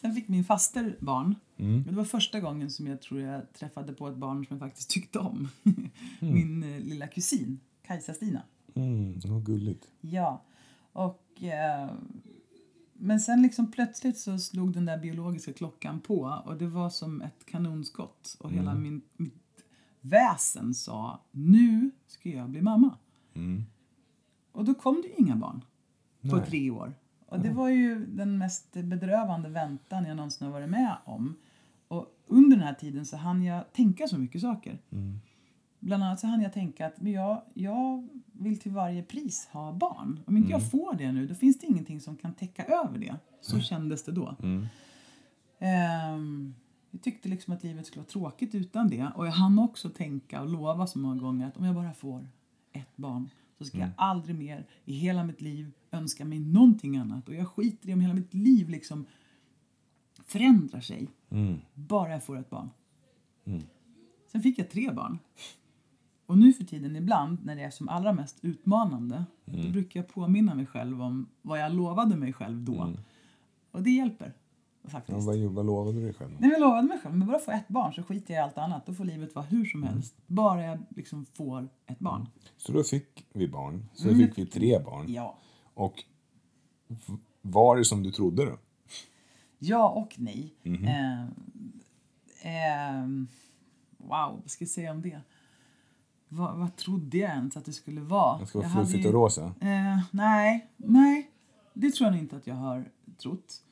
Sen fick min faster barn. Och det var första gången som jag tror jag träffade på ett barn som jag faktiskt tyckte om. Min eh, lilla kusin, Kajsa-Stina. Mm, vad gulligt. Ja. Och, eh, men sen liksom plötsligt så slog den där biologiska klockan på och det var som ett kanonskott. Och hela Mm. min, mitt väsen sa nu ska jag bli mamma. Och då kom det ju inga barn på Mm. Nej. tre år. Och det var ju den mest bedrövande väntan jag någonsin har varit med om. Och under den här tiden så hann jag tänka så mycket saker. Bland annat så hann jag tänka att men jag, jag vill till varje pris ha barn. Om inte jag får det nu, då finns det ingenting som kan täcka över det. Så kändes det då. Ehm, jag tyckte liksom att livet skulle vara tråkigt utan det. Och jag hann också tänka och lova så många gånger att om jag bara får ett barn så ska jag aldrig mer i hela mitt liv önska mig någonting annat. Och jag skiter i om hela mitt liv liksom förändrar sig. Bara jag får ett barn. Sen fick jag tre barn. Och nu för tiden ibland, när det är som allra mest utmanande, då brukar jag påminna mig själv om vad jag lovade mig själv då. Och det hjälper Ja, faktiskt. vad, vad lovade du dig själv? Nej, men jag lovade mig själv, men bara få ett barn så skiter jag i allt annat. Då får livet vara hur Mm. som helst. Bara jag liksom får ett barn. Så då fick vi barn. Så då fick vi tre barn. Ja. Och v- var det som du trodde då? Ja och nej. Mhm. Eh, ehm, wow, vad ska jag säga om det? Vad, vad trodde jag ens att det skulle vara? Jag ska vara Jag hade fluffigt ju- och rosa. Eh, nej, nej. Det tror jag nog inte att jag har trott.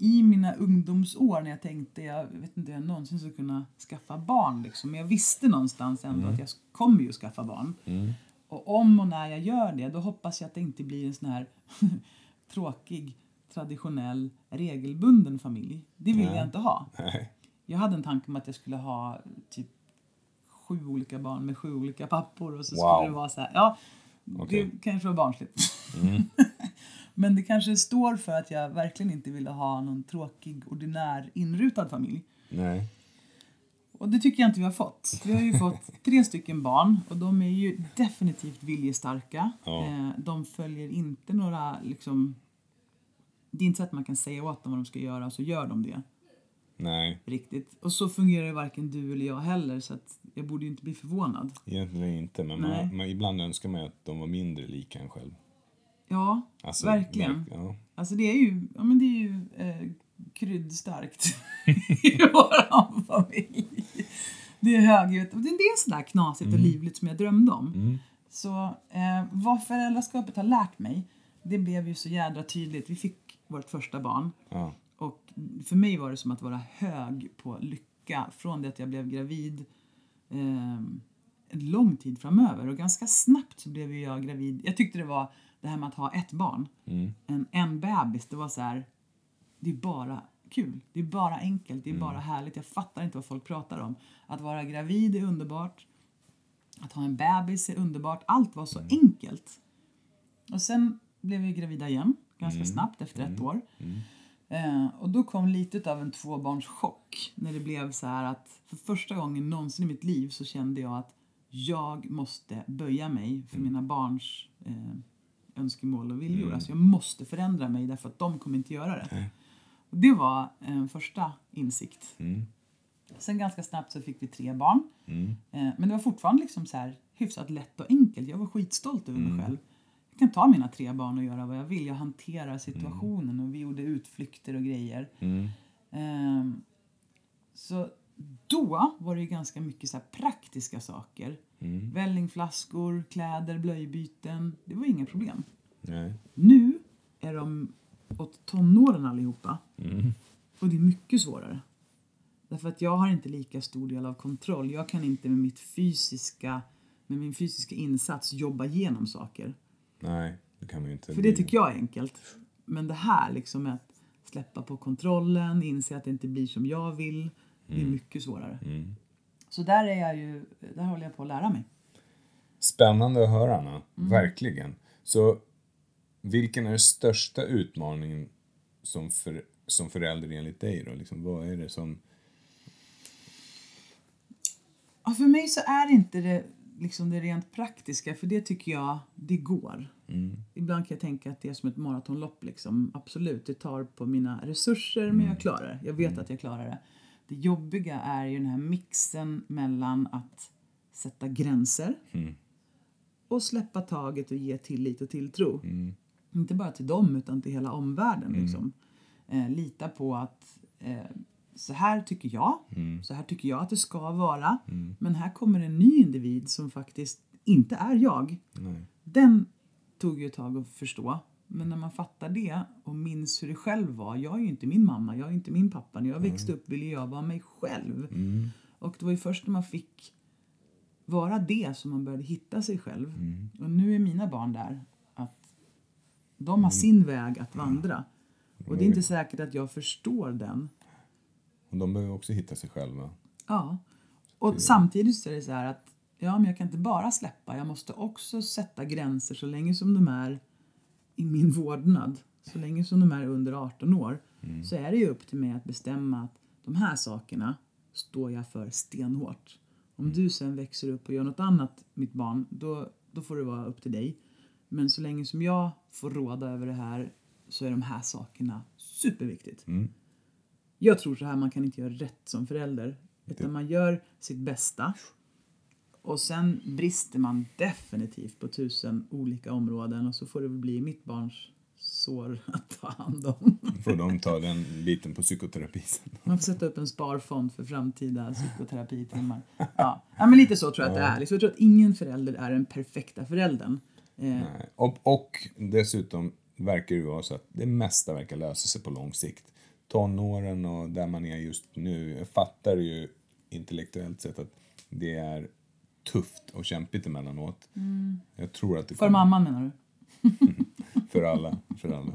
I mina ungdomsår när jag tänkte jag vet inte hur jag någonsin skulle kunna skaffa barn. Liksom. Men jag visste någonstans ändå att jag kommer ju skaffa barn. Och om och när jag gör det då hoppas jag att det inte blir en sån här tråkig, traditionell, regelbunden familj. Det vill jag inte ha. Nej. Jag hade en tanke om att jag skulle ha typ sju olika barn med sju olika pappor och så Wow. skulle det vara så här. Ja, Okej. Mm. det kanske var barnsligt. Men det kanske står för att jag verkligen inte ville ha någon tråkig, ordinär, inrutad familj. Nej. Och det tycker jag inte vi har fått. Vi har ju fått tre stycken barn och de är ju definitivt viljestarka. Ja. Eh, De följer inte några liksom... Det är inte så att man kan säga åt dem vad de ska göra och så gör de det Nej. riktigt. Och så fungerar ju varken du eller jag heller så att jag borde ju inte bli förvånad. Egentligen inte, men Nej. man, man, ibland önskar man ju att de var mindre lika en själv. Ja, Alltså, verkligen. verk- ja. Alltså det är ju, ja men det är ju eh, kryddstarkt i vår familj. Det är högljutt. Och Det det är sådär knasigt och livligt som jag drömde om. Mm. Så eh, vad föräldraskapet har lärt mig, det blev ju så jädra tydligt. Vi fick vårt första barn Ja. och för mig var det som att vara hög på lycka från det att jag blev gravid eh, en lång tid framöver. Och ganska snabbt så blev ju jag gravid. Jag tyckte det var det här med att ha ett barn, Mm, en, en bebis, det var så här, det är bara kul, det är bara enkelt, det är bara härligt. Jag fattar inte vad folk pratar om. Att vara gravid är underbart, att ha en bebis är underbart. Allt var så enkelt. Och sen blev vi gravida igen, ganska snabbt efter ett år. Eh, och då kom lite av en tvåbarnschock när det blev så här att för första gången någonsin i mitt liv så kände jag att jag måste böja mig för mina barns eh, önskemål och viljor. Alltså jag måste förändra mig därför att de kommer inte göra det. Och det var en första insikt. mm, Sen ganska snabbt så fick vi tre barn. Eh, Men det var fortfarande liksom så här hyfsat lätt och enkelt. Jag var skitstolt över mig själv. Jag kan ta mina tre barn och göra vad jag vill. Jag hanterar situationen och vi gjorde utflykter och grejer. mm. Ehm, så då var det ju ganska mycket så här praktiska saker. Vällingflaskor, kläder, blöjbyten. Det var inga problem. Nej. Nu är de åt tonåren allihopa. Och det är mycket svårare. Därför att jag har inte lika stor del av kontroll. Jag kan inte med, mitt fysiska, med min fysiska insats jobba igenom saker. Nej, det kan man ju inte. För det tycker jag är enkelt. Men det här liksom med att släppa på kontrollen, inse att det inte blir som jag vill. Det är mycket svårare. Mm. Så där är jag ju, där håller jag på att lära mig. Spännande att höra, Anna. Mm. Verkligen. Så vilken är den största utmaningen som, för, som förälder enligt dig då? Liksom, vad är det som... Ja, för mig så är inte det liksom det rent praktiska, för det tycker jag, det går. Ibland kan jag tänka att det är som ett maratonlopp. Liksom. Absolut, det tar på mina resurser, men jag klarar det. Jag vet att jag klarar det. Det jobbiga är ju den här mixen mellan att sätta gränser och släppa taget och ge tillit och tilltro. Inte bara till dem, utan till hela omvärlden. Liksom. Eh, lita på att eh, så här tycker jag, så här tycker jag att det ska vara. Men här kommer en ny individ som faktiskt inte är jag. Nej. Den tog ju ett tag att förstå. Men när man fattar det och minns hur det själv var. Jag är ju inte min mamma, jag är inte min pappa. När jag växte upp ville jag vara mig själv. Och det var ju först när man fick vara det som man började hitta sig själv. Och nu är mina barn där. Att de har sin väg att vandra. Och det är inte säkert att jag förstår den. Och de behöver också hitta sig själva. Ja. Och samtidigt så är det så här att ja, men jag kan inte bara släppa. Jag måste också sätta gränser så länge som de är i min vårdnad. Så länge som de är under 18 år så är det ju upp till mig att bestämma att de här sakerna står jag för stenhårt. Om du sen växer upp och gör något annat, mitt barn, då, då får det vara upp till dig. Men så länge som jag får råda över det här så är de här sakerna superviktigt. Jag tror så här, man kan inte göra rätt som förälder. Utan man gör sitt bästa. Och sen brister man definitivt på tusen olika områden och så får det väl bli mitt barns sår att ta hand om. Får de ta den biten på psykoterapi sen. Man får sätta upp en sparfond för framtida psykoterapitimmar. Ja. ja, men lite så tror jag att det är. Liksom, Jag tror att ingen förälder är den perfekta föräldern. Eh, Nej. Och, och dessutom verkar det vara så att det mesta verkar lösa sig på lång sikt. Tonåren och där man är just nu, jag fattar ju intellektuellt sett att det är tufft och kämpigt emellanåt. Jag tror att det Mm. för mamman menar du? för alla. För alla.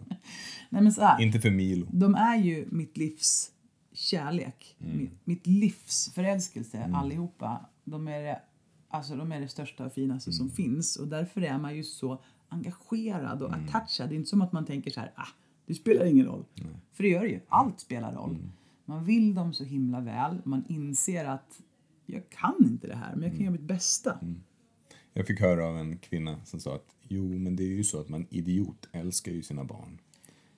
Nej men så här. Inte för Milo. De är ju mitt livs kärlek. Mitt, mitt livs förälskelse allihopa. De är det, alltså de är det största och finaste som finns och därför är man ju så engagerad och attachad. Det är inte som att man tänker så här, ah, det spelar ingen roll. För det gör det ju. Allt spelar roll. Man vill dem så himla väl. Man inser att jag kan inte det här, men jag kan göra mitt bästa. Jag fick höra av en kvinna som sa att jo, men det är ju så att man idiot älskar ju sina barn.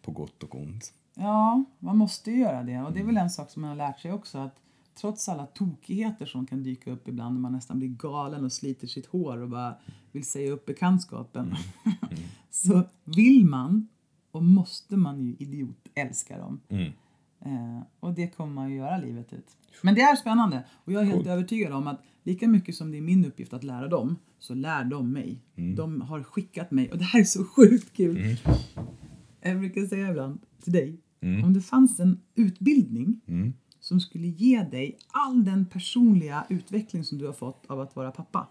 På gott och ont. Ja, man måste ju göra det. Och det är väl en sak som man har lärt sig också. att Trots alla tokigheter som kan dyka upp ibland när man nästan blir galen och sliter sitt hår och bara vill säga upp bekantskapen. så vill man och måste man ju idiot älska dem. Eh, och det kommer man ju göra livet ut. Men det är spännande. Och jag är helt övertygad om att lika mycket som det är min uppgift att lära dem, så lär de mig. De har skickat mig. Och det här är så sjukt kul. Jag brukar säga ibland till dig, om det fanns en utbildning som skulle ge dig all den personliga utveckling som du har fått av att vara pappa.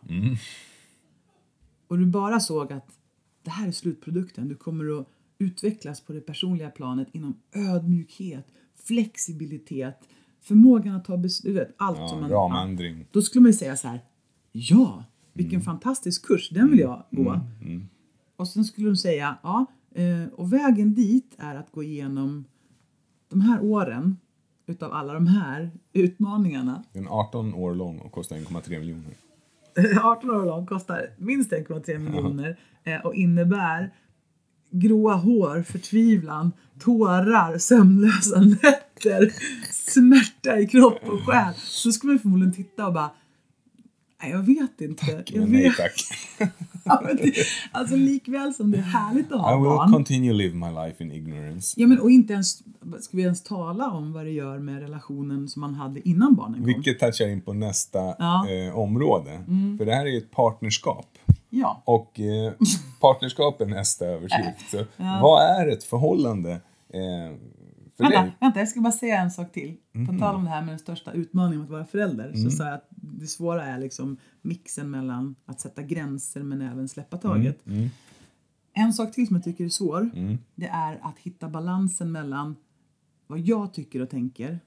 Och du bara såg att det här är slutprodukten, du kommer att utvecklas på det personliga planet inom ödmjukhet, flexibilitet, förmågan att ta beslut, du vet, allt Ja, som man... ramandring. Då skulle man ju säga så här, ja, vilken fantastisk kurs, den vill jag gå. Och sen skulle de säga, ja, eh, och vägen dit är att gå igenom de här åren utav alla de här utmaningarna. Den är 18 år lång och kostar 1,3 miljoner. 18 år lång kostar minst 1,3 miljoner eh, och innebär gråa hår, förtvivlan, tårar, sömnlösa nätter, smärta i kropp och själ. Så skulle man förmodligen titta och bara, nej jag vet inte. jag vet. Men nej tack. Ja, men det, alltså likväl som det är härligt att I ha will barn. continue live my life in ignorance. Ja, men, och inte ens, ska vi ens tala om vad det gör med relationen som man hade innan barnen kom? Vilket touchar in på nästa Ja. Mm. eh, område. För det här är ju ett partnerskap. Ja. Och eh, partnerskap är nästa överskrift. Så vad är ett förhållande eh, för Vänta, dig? Mm. vänta, jag ska bara säga en sak till. På tal om det här med den största utmaningen med att vara förälder så sa jag att det svåra är liksom mixen mellan att sätta gränser men även Mm, släppa taget. En sak till som jag tycker är svår, Mm. det är att hitta balansen mellan vad jag tycker och tänker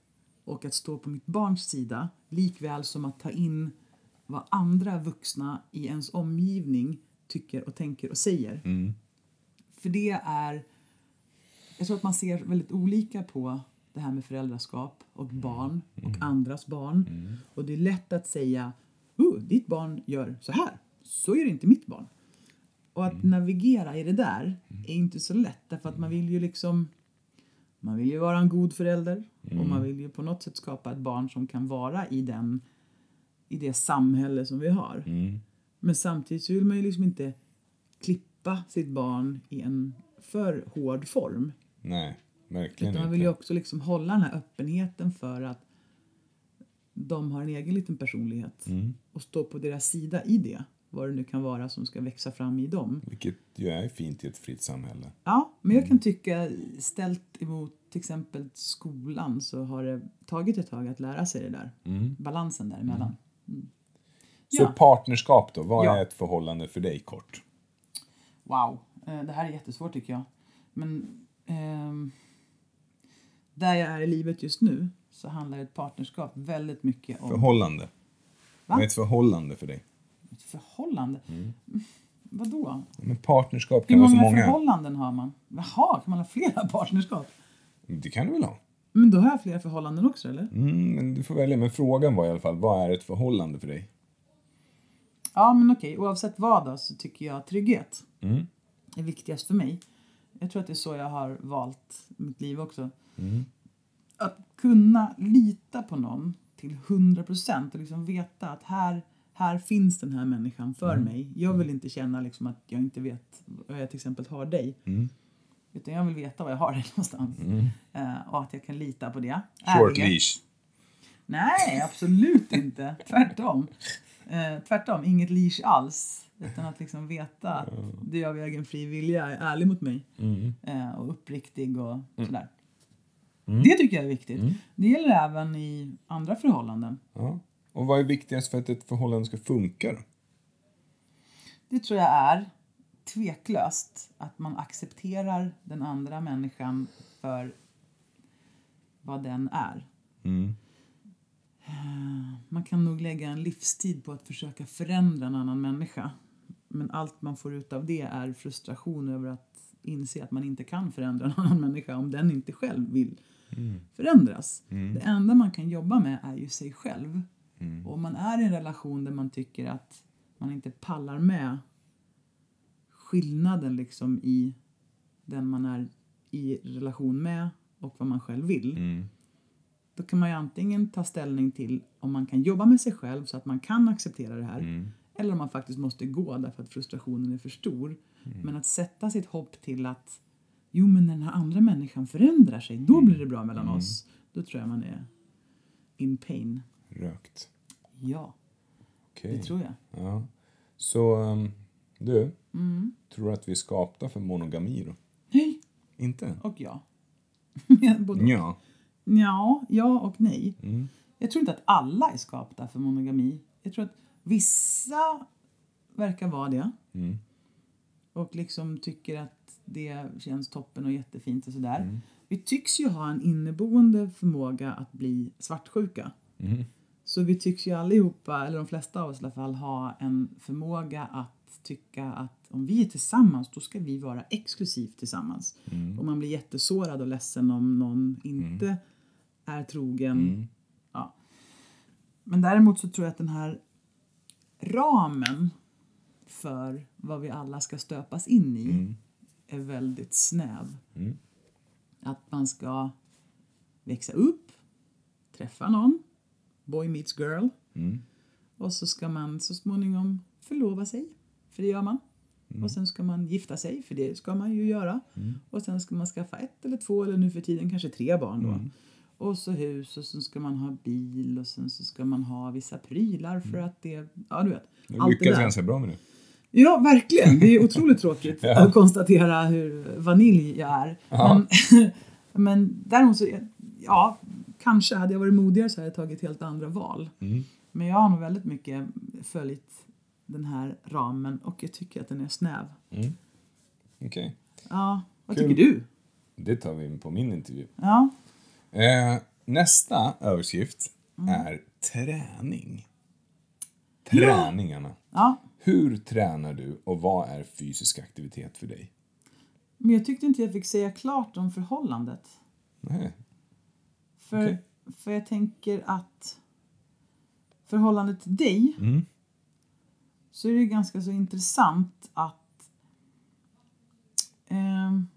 och att stå på mitt barns sida likväl som att ta in vad andra vuxna i ens omgivning tycker och tänker och säger. Mm. För det är jag tror att man ser väldigt olika på det här med föräldraskap och barn och andras barn. Och det är lätt att säga oh, ditt barn gör så här, så gör inte mitt barn. Och att navigera i det där är inte så lätt därför att man vill ju liksom man vill ju vara en god förälder och man vill ju på något sätt skapa ett barn som kan vara i den i det samhälle som vi har. Men samtidigt så vill man ju liksom inte klippa sitt barn i en för hård form. Nej, verkligen Utan man inte. vill ju också liksom hålla den här öppenheten för att de har en egen liten personlighet och stå på deras sida i det. Vad det nu kan vara som ska växa fram i dem. Vilket ju är fint i ett fritt samhälle. Ja, men jag kan tycka ställt emot till exempel skolan så har det tagit ett tag att lära sig det där. Balansen däremellan. Mm. Så Ja. partnerskap då, vad Ja. är ett förhållande för dig kort? Wow, eh, det här är jättesvårt tycker jag. Men ehm, där jag är i livet just nu så handlar ett partnerskap väldigt mycket om Förhållande. Vad är ett förhållande för dig? ett förhållande. Mm. Vadå? Men partnerskap Hur kan vara många, så många. förhållanden har man? Jaha, kan man ha flera partnerskap? Det kan du väl ha? Men då har jag flera förhållanden också eller? Mm, men du får välja. Men frågan var i alla fall, vad är ett förhållande för dig? Ja men okej, oavsett vad då så tycker jag trygghet är viktigast för mig. Jag tror att det är så jag har valt mitt liv också. Att kunna lita på någon till 100% och liksom veta att här, här finns den här människan för mig. Jag vill inte känna liksom att jag inte vet vad jag till exempel har dig. Utan jag vill veta vad jag har dig någonstans. Eh, och att jag kan lita på det. Short Ärlighet. leash. Nej, absolut inte. Tvärtom. Eh, tvärtom, inget leash alls. Utan att liksom veta att du av egen fri vilja är ärlig mot mig. Eh, och uppriktig och sådär. Det tycker jag är viktigt. Det gäller även i andra förhållanden. Ja. Och vad är viktigast för att ett förhållande ska funka då? Det tror jag är tveklöst att man accepterar den andra Mm, människan för vad den är. eh, man kan nog lägga en livstid på att försöka förändra en annan människa. Men allt man får ut av det är frustration över att inse att man inte kan förändra en annan människa om den inte själv vill förändras. Det enda man kan jobba med är ju sig själv. Och om man är i en relation där man tycker att man inte pallar med skillnaden liksom i den man är i relation med och vad man själv vill. mm, Då kan man ju antingen ta ställning till om man kan jobba med sig själv så att man kan acceptera det Mm. här. Eller om man faktiskt måste gå därför att frustrationen är för stor. Men att sätta sitt hopp till att jo men när den här andra människan förändrar sig, då blir det bra mellan oss. Då tror jag man är in pain. Rökt. Ja, Okej. det tror jag. Ja. Så ehm, du, Mm. tror du att vi är skapta för monogami då? Nej Inte? och ja. Både Ja. Ja, ja och nej. Jag tror inte att alla är skapta för monogami. Jag tror att vissa verkar vara det. Och liksom tycker att det känns toppen och jättefint och sådär. Vi tycks ju ha en inneboende förmåga att bli svartsjuka. Så vi tycks ju allihopa, eller de flesta av oss i alla fall, ha en förmåga att tycka att om vi är tillsammans, då ska vi vara exklusivt tillsammans. Och man blir jättesårad och ledsen om någon inte är trogen. Ja. Men däremot så tror jag att den här ramen för vad vi alla ska stöpas in i Mm. är väldigt snäv. Att man ska växa upp, träffa någon, boy meets girl. Mm. Och så ska man så småningom förlova sig, för det gör man. Mm. Och sen ska man gifta sig, för det ska man ju göra. Och sen ska man skaffa ett eller två eller nu för tiden kanske tre barn då. Mm. Och så hus och sen ska man ha bil och sen så ska man ha vissa prylar för att det, ja du vet. Allt Jag det Mm. lyckas där. ganska bra med det. Ja, verkligen. Det är otroligt tråkigt att konstatera hur vanilj jag är. Men, men däremot så, ja, kanske hade jag varit modigare så hade jag tagit helt andra val. Men jag har nog väldigt mycket följt den här ramen och jag tycker att den är snäv. Okej. Ja, vad Kul. tycker du? Det tar vi in på min intervju. Ja, Eh, nästa överskrift Mm. är träning. Träningarna. ja. Hur tränar du och vad är fysisk aktivitet för dig? Men jag tyckte inte jag fick säga klart om förhållandet. Nej. För, Okej. för jag tänker att förhållandet till dig Mm. så är det ganska så intressant att... ehm,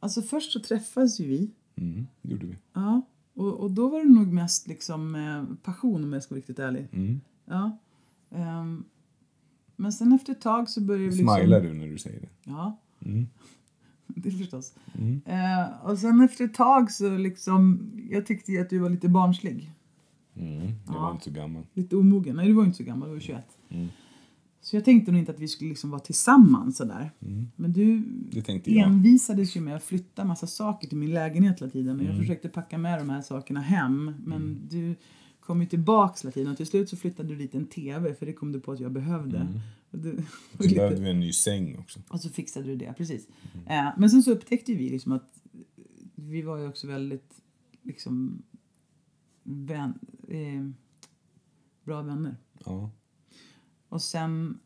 alltså först så träffas ju vi. Mm, det gjorde vi. Ja. Och, och då var det nog mest liksom eh, passion om jag ska vara riktigt ärlig. Mm. Ja. Ehm, men sen efter ett tag så började vi liksom... Smilar du när du säger det? Ja. Mm. Det förstås. Mm. Eh, och sen efter ett tag så liksom... Jag tyckte ju att du var lite barnslig. Mm. Jag var Ja. inte så gammal. lite omogen. Nej, du var ju inte så gammal, du var 21. Mm. Så jag tänkte nog inte att vi skulle liksom vara tillsammans sådär. Men du Det tänkte Mm. jag. envisades ju med att flytta massa saker till min lägenhet hela tiden. Och jag Mm. försökte packa med de här sakerna hem. Men du kom ju tillbaks hela tiden. Och till slut så flyttade du dit en TV, för det kom du på att jag behövde. Och, du, och, Mm. Så lite- behövde vi en ny säng också. och så fixade du det, precis. Mm. Eh, men sen så upptäckte ju vi liksom att vi var ju också väldigt liksom vän, eh, bra vänner. Ja. Och sen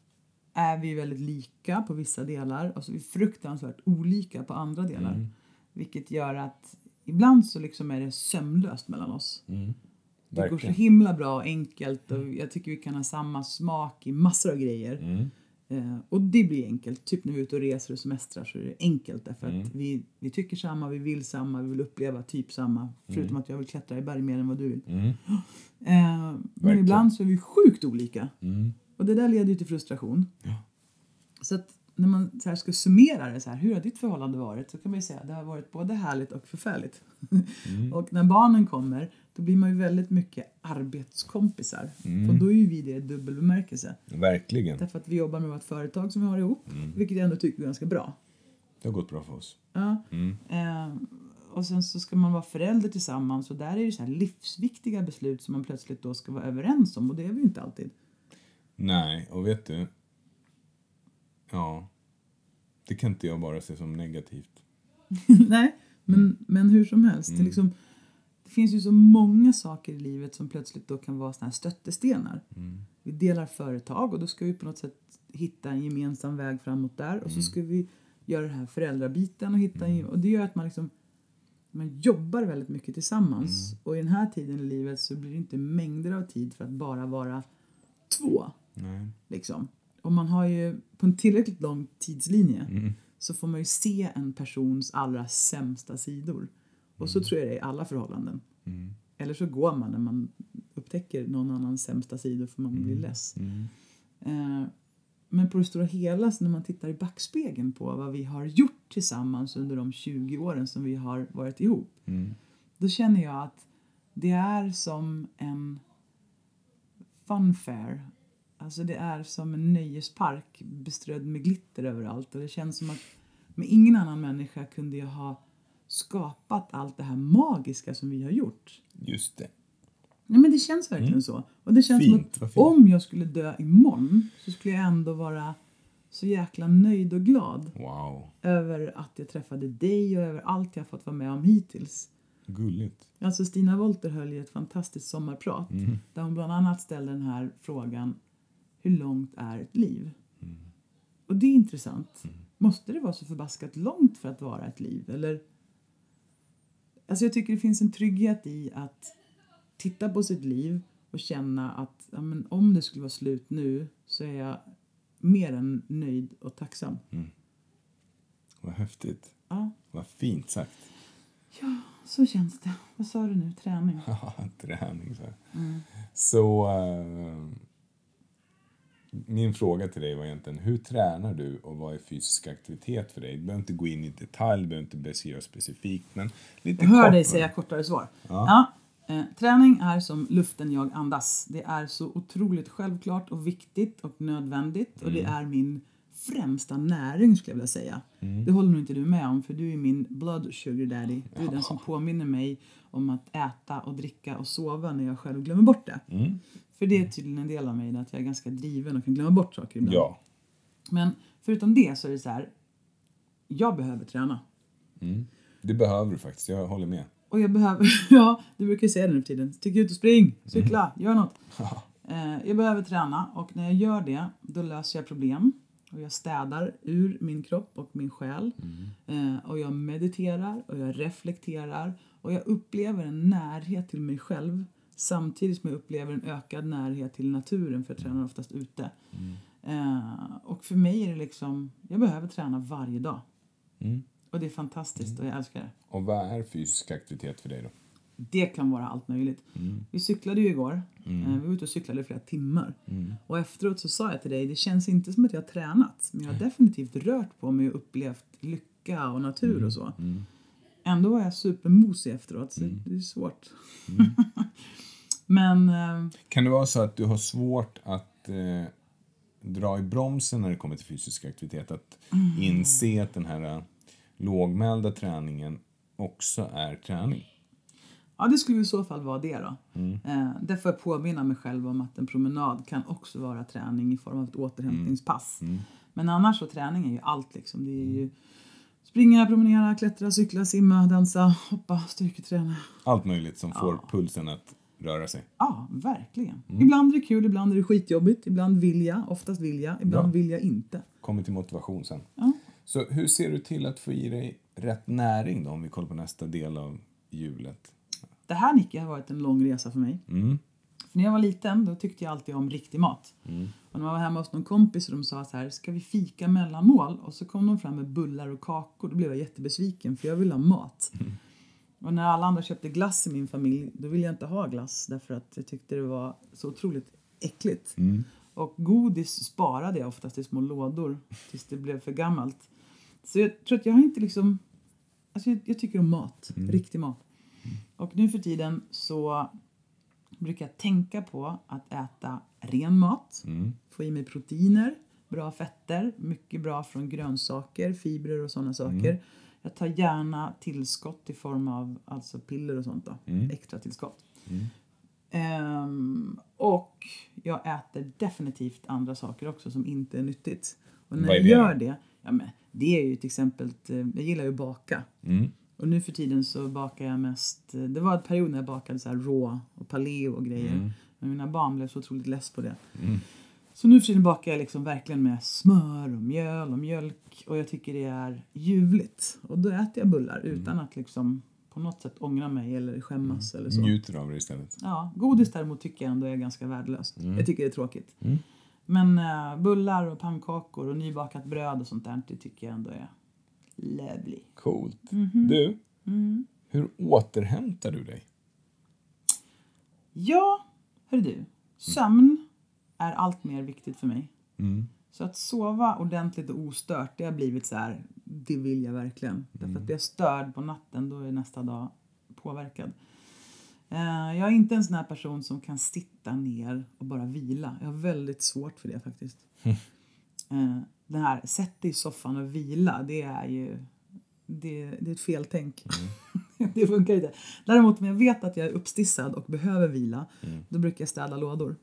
är vi ju väldigt lika på vissa delar och så är vi fruktansvärt olika på andra delar. Mm. Vilket gör att ibland så liksom är det sömlöst mellan oss. Det går så Verkligen. himla bra och enkelt och jag tycker vi kan ha samma smak i massor av grejer. Mm. Eh, och det blir enkelt. Typ när vi är ute och reser och semestrar så är det enkelt därför Mm. att vi, vi tycker samma, vi vill samma, vi vill uppleva typ samma. Förutom Mm. att jag vill klättra i berg mer än vad du vill. Eh, men Verkligen. ibland så är vi sjukt olika. Mm. Och det där leder ju till frustration. Så att när man så här ska summera det, så här, hur har ditt förhållande varit? Så kan man ju säga att det har varit både härligt och förfärligt. och när barnen kommer, då blir man ju väldigt mycket arbetskompisar. Och då är ju vi det i dubbel bemärkelse. Verkligen. Därför att vi jobbar med vårt företag som vi har ihop, vilket jag ändå tycker är ganska bra. Det har gått bra för oss. Ja. Eh, och sen så ska man vara förälder tillsammans och där är det så här livsviktiga beslut som man plötsligt då ska vara överens om och det är vi ju inte alltid. Nej, och vet du? Ja. Det kan inte jag bara se som negativt. Nej, men, men hur som helst. Det, är liksom, det finns ju så många saker i livet som plötsligt då kan vara såna här stöttestenar. Vi delar företag och då ska vi på något sätt hitta en gemensam väg framåt där. Och så ska vi göra den här föräldrabiten och hitta en, Och det gör att man liksom man jobbar väldigt mycket tillsammans. Och i den här tiden i livet så blir det inte mängder av tid för att bara vara två. Nej. Liksom. Och man har ju på en tillräckligt lång tidslinje så får man ju se en persons allra sämsta sidor. Och så tror jag det är i alla förhållanden. Mm. Eller så går man när man upptäcker någon annans sämsta sidor för man blir less. Mm. Eh, men på det stora hela, så när man tittar i backspegeln på vad vi har gjort tillsammans under de 20 åren som vi har varit ihop. Då känner jag att det är som en funfair. Alltså det är som en nöjespark beströdd med glitter överallt. Och det känns som att med ingen annan människa kunde jag ha skapat allt det här magiska som vi har gjort. Just det. Nej men det känns verkligen så. Och det känns Mm. Fint, som vad att fint. om jag skulle dö imorgon så skulle jag ändå vara så jäkla nöjd och glad Wow. över att jag träffade dig och över allt jag fått vara med om hittills. Gulligt. Alltså Stina Wolter höll ju ett fantastiskt sommarprat där hon bland annat ställde den här frågan Hur långt är ett liv? Och det är intressant. Måste det vara så förbaskat långt för att vara ett liv? Eller? Alltså jag tycker det finns en trygghet i att titta på sitt liv och känna att ja, men om det skulle vara slut nu så är jag mer än nöjd och tacksam. Vad häftigt. Ja, Vad fint sagt. så känns det. Vad sa du nu? Träning? Ja, träning. Så, här. Mm. så eh, min fråga till dig var egentligen hur tränar du och vad är fysisk aktivitet för dig? Du behöver inte gå in i detalj, du behöver inte beskriva specifikt, men lite Jag hör kort, dig va? säga kortare svar. Ja. eh, träning är som luften jag andas. Det är så otroligt självklart och viktigt och nödvändigt och Mm. det är min främsta näring skulle jag vilja säga. Mm. Det håller nog inte du med om för du är min blood sugar daddy. Du är den som påminner mig om att äta och dricka och sova när jag själv glömmer bort det. Mm. För det är tydligen en del av mig, att jag är ganska driven och kan glömma bort saker ibland. Ja. Men förutom det så är det så här, jag behöver träna. Det behöver du faktiskt, jag håller med. Och jag behöver, ja, du brukar ju säga det nu för tiden. Stick ut och spring, cykla, gör något. Eh, jag behöver träna och när jag gör det, då löser jag problem. Och jag städar ur min kropp och min själ. Eh, och jag mediterar och jag reflekterar. Och jag upplever en närhet till mig själv samtidigt som jag upplever en ökad närhet till naturen för jag tränar oftast ute. Eh, och för mig är det liksom, jag behöver träna varje dag. Och det är fantastiskt och jag älskar det. Och vad är fysisk aktivitet för dig då? Det kan vara allt möjligt. Vi cyklade ju igår. Eh, Vi var ute och cyklade i flera timmar. Och efteråt så sa jag till dig, det känns inte som att jag har tränat. Men jag har definitivt rört på mig och upplevt lycka och natur och så. Ändå var jag supermosig efteråt, så det är svårt. men eh, Kan det vara så att du har svårt att eh, dra i bromsen när det kommer till fysisk aktivitet? Att Mm. inse att den här eh, lågmälda träningen också är träning? ja, det skulle i så fall vara det då. Eh, Där får jag påminna mig själv om att en promenad kan också vara träning i form av ett återhämtningspass. Men annars så träning är ju allt liksom. Det är ju springa, promenera, klättra, cykla, simma, dansa, hoppa, styrketräna. Allt möjligt som får pulsen att röra sig. Ja, verkligen. Ibland är det kul, ibland är det skitjobbigt. Ibland vill jag, oftast vill jag, ibland Ja. vill jag inte. Kommer till motivation sen. Ja. Så hur ser du till att få i dig rätt näring då om vi kollar på nästa del av hjulet? Mm, Det här Nicke har varit en lång resa för mig. För när jag var liten då tyckte jag alltid om riktig mat. Och när man var hemma hos någon kompis och de sa så här, ska vi fika mellanmål? Och så kom de fram med bullar och kakor. Då blev jag jättebesviken för jag ville ha mat. Och när alla andra köpte glass i min familj då ville jag inte ha glass därför att jag tyckte det var så otroligt äckligt. Och godis sparade jag oftast i små lådor tills det blev för gammalt. Så jag tror att jag har inte liksom... Alltså jag, jag tycker om mat, riktig mat. Och nu för tiden så brukar jag tänka på att äta ren mat, Mm. få i mig proteiner, bra fetter, mycket bra från grönsaker, fibrer och sådana saker. Mm. Jag tar gärna tillskott i form av alltså piller och sånt då, Mm. extra tillskott. Ehm, och jag äter definitivt andra saker också som inte är nyttigt. Och när Vad är jag det mm. gör det, ja, men, det är ju till exempel, att, eh, jag gillar ju att baka. Och nu för tiden så bakar jag mest... eh, Det var en period när jag bakade så här rå och paleo och grejer. Men mina barn blev så otroligt less på det. Så nu för tiden bakar jag liksom verkligen med smör och mjöl och mjölk. Och jag tycker det är ljuvligt. Och då äter jag bullar utan att liksom på något sätt ångra mig eller skämmas eller så. Njuter av det istället. Ja, godis däremot tycker jag ändå är ganska värdelöst. Jag tycker det är tråkigt. Men eh, bullar och pannkakor och nybakat bröd och sånt där, det tycker jag ändå är lovely. Mm. Coolt. Mhm. Du, hur återhämtar du dig? Ja, hör du. Sömn är allt mer viktigt för mig. Så att sova ordentligt och ostört, det har blivit så här, det vill jag verkligen. Därför att blir jag störd på natten, då är nästa dag påverkad. Eh, Jag är inte en sån här person som kan sitta ner och bara vila. Jag har väldigt svårt för det faktiskt. Eh, Det här, sätt dig i soffan och vila, det är ju... Det, det är ett feltänk. det funkar inte. Däremot om jag vet att jag är uppstissad och behöver vila, då brukar jag städa lådor.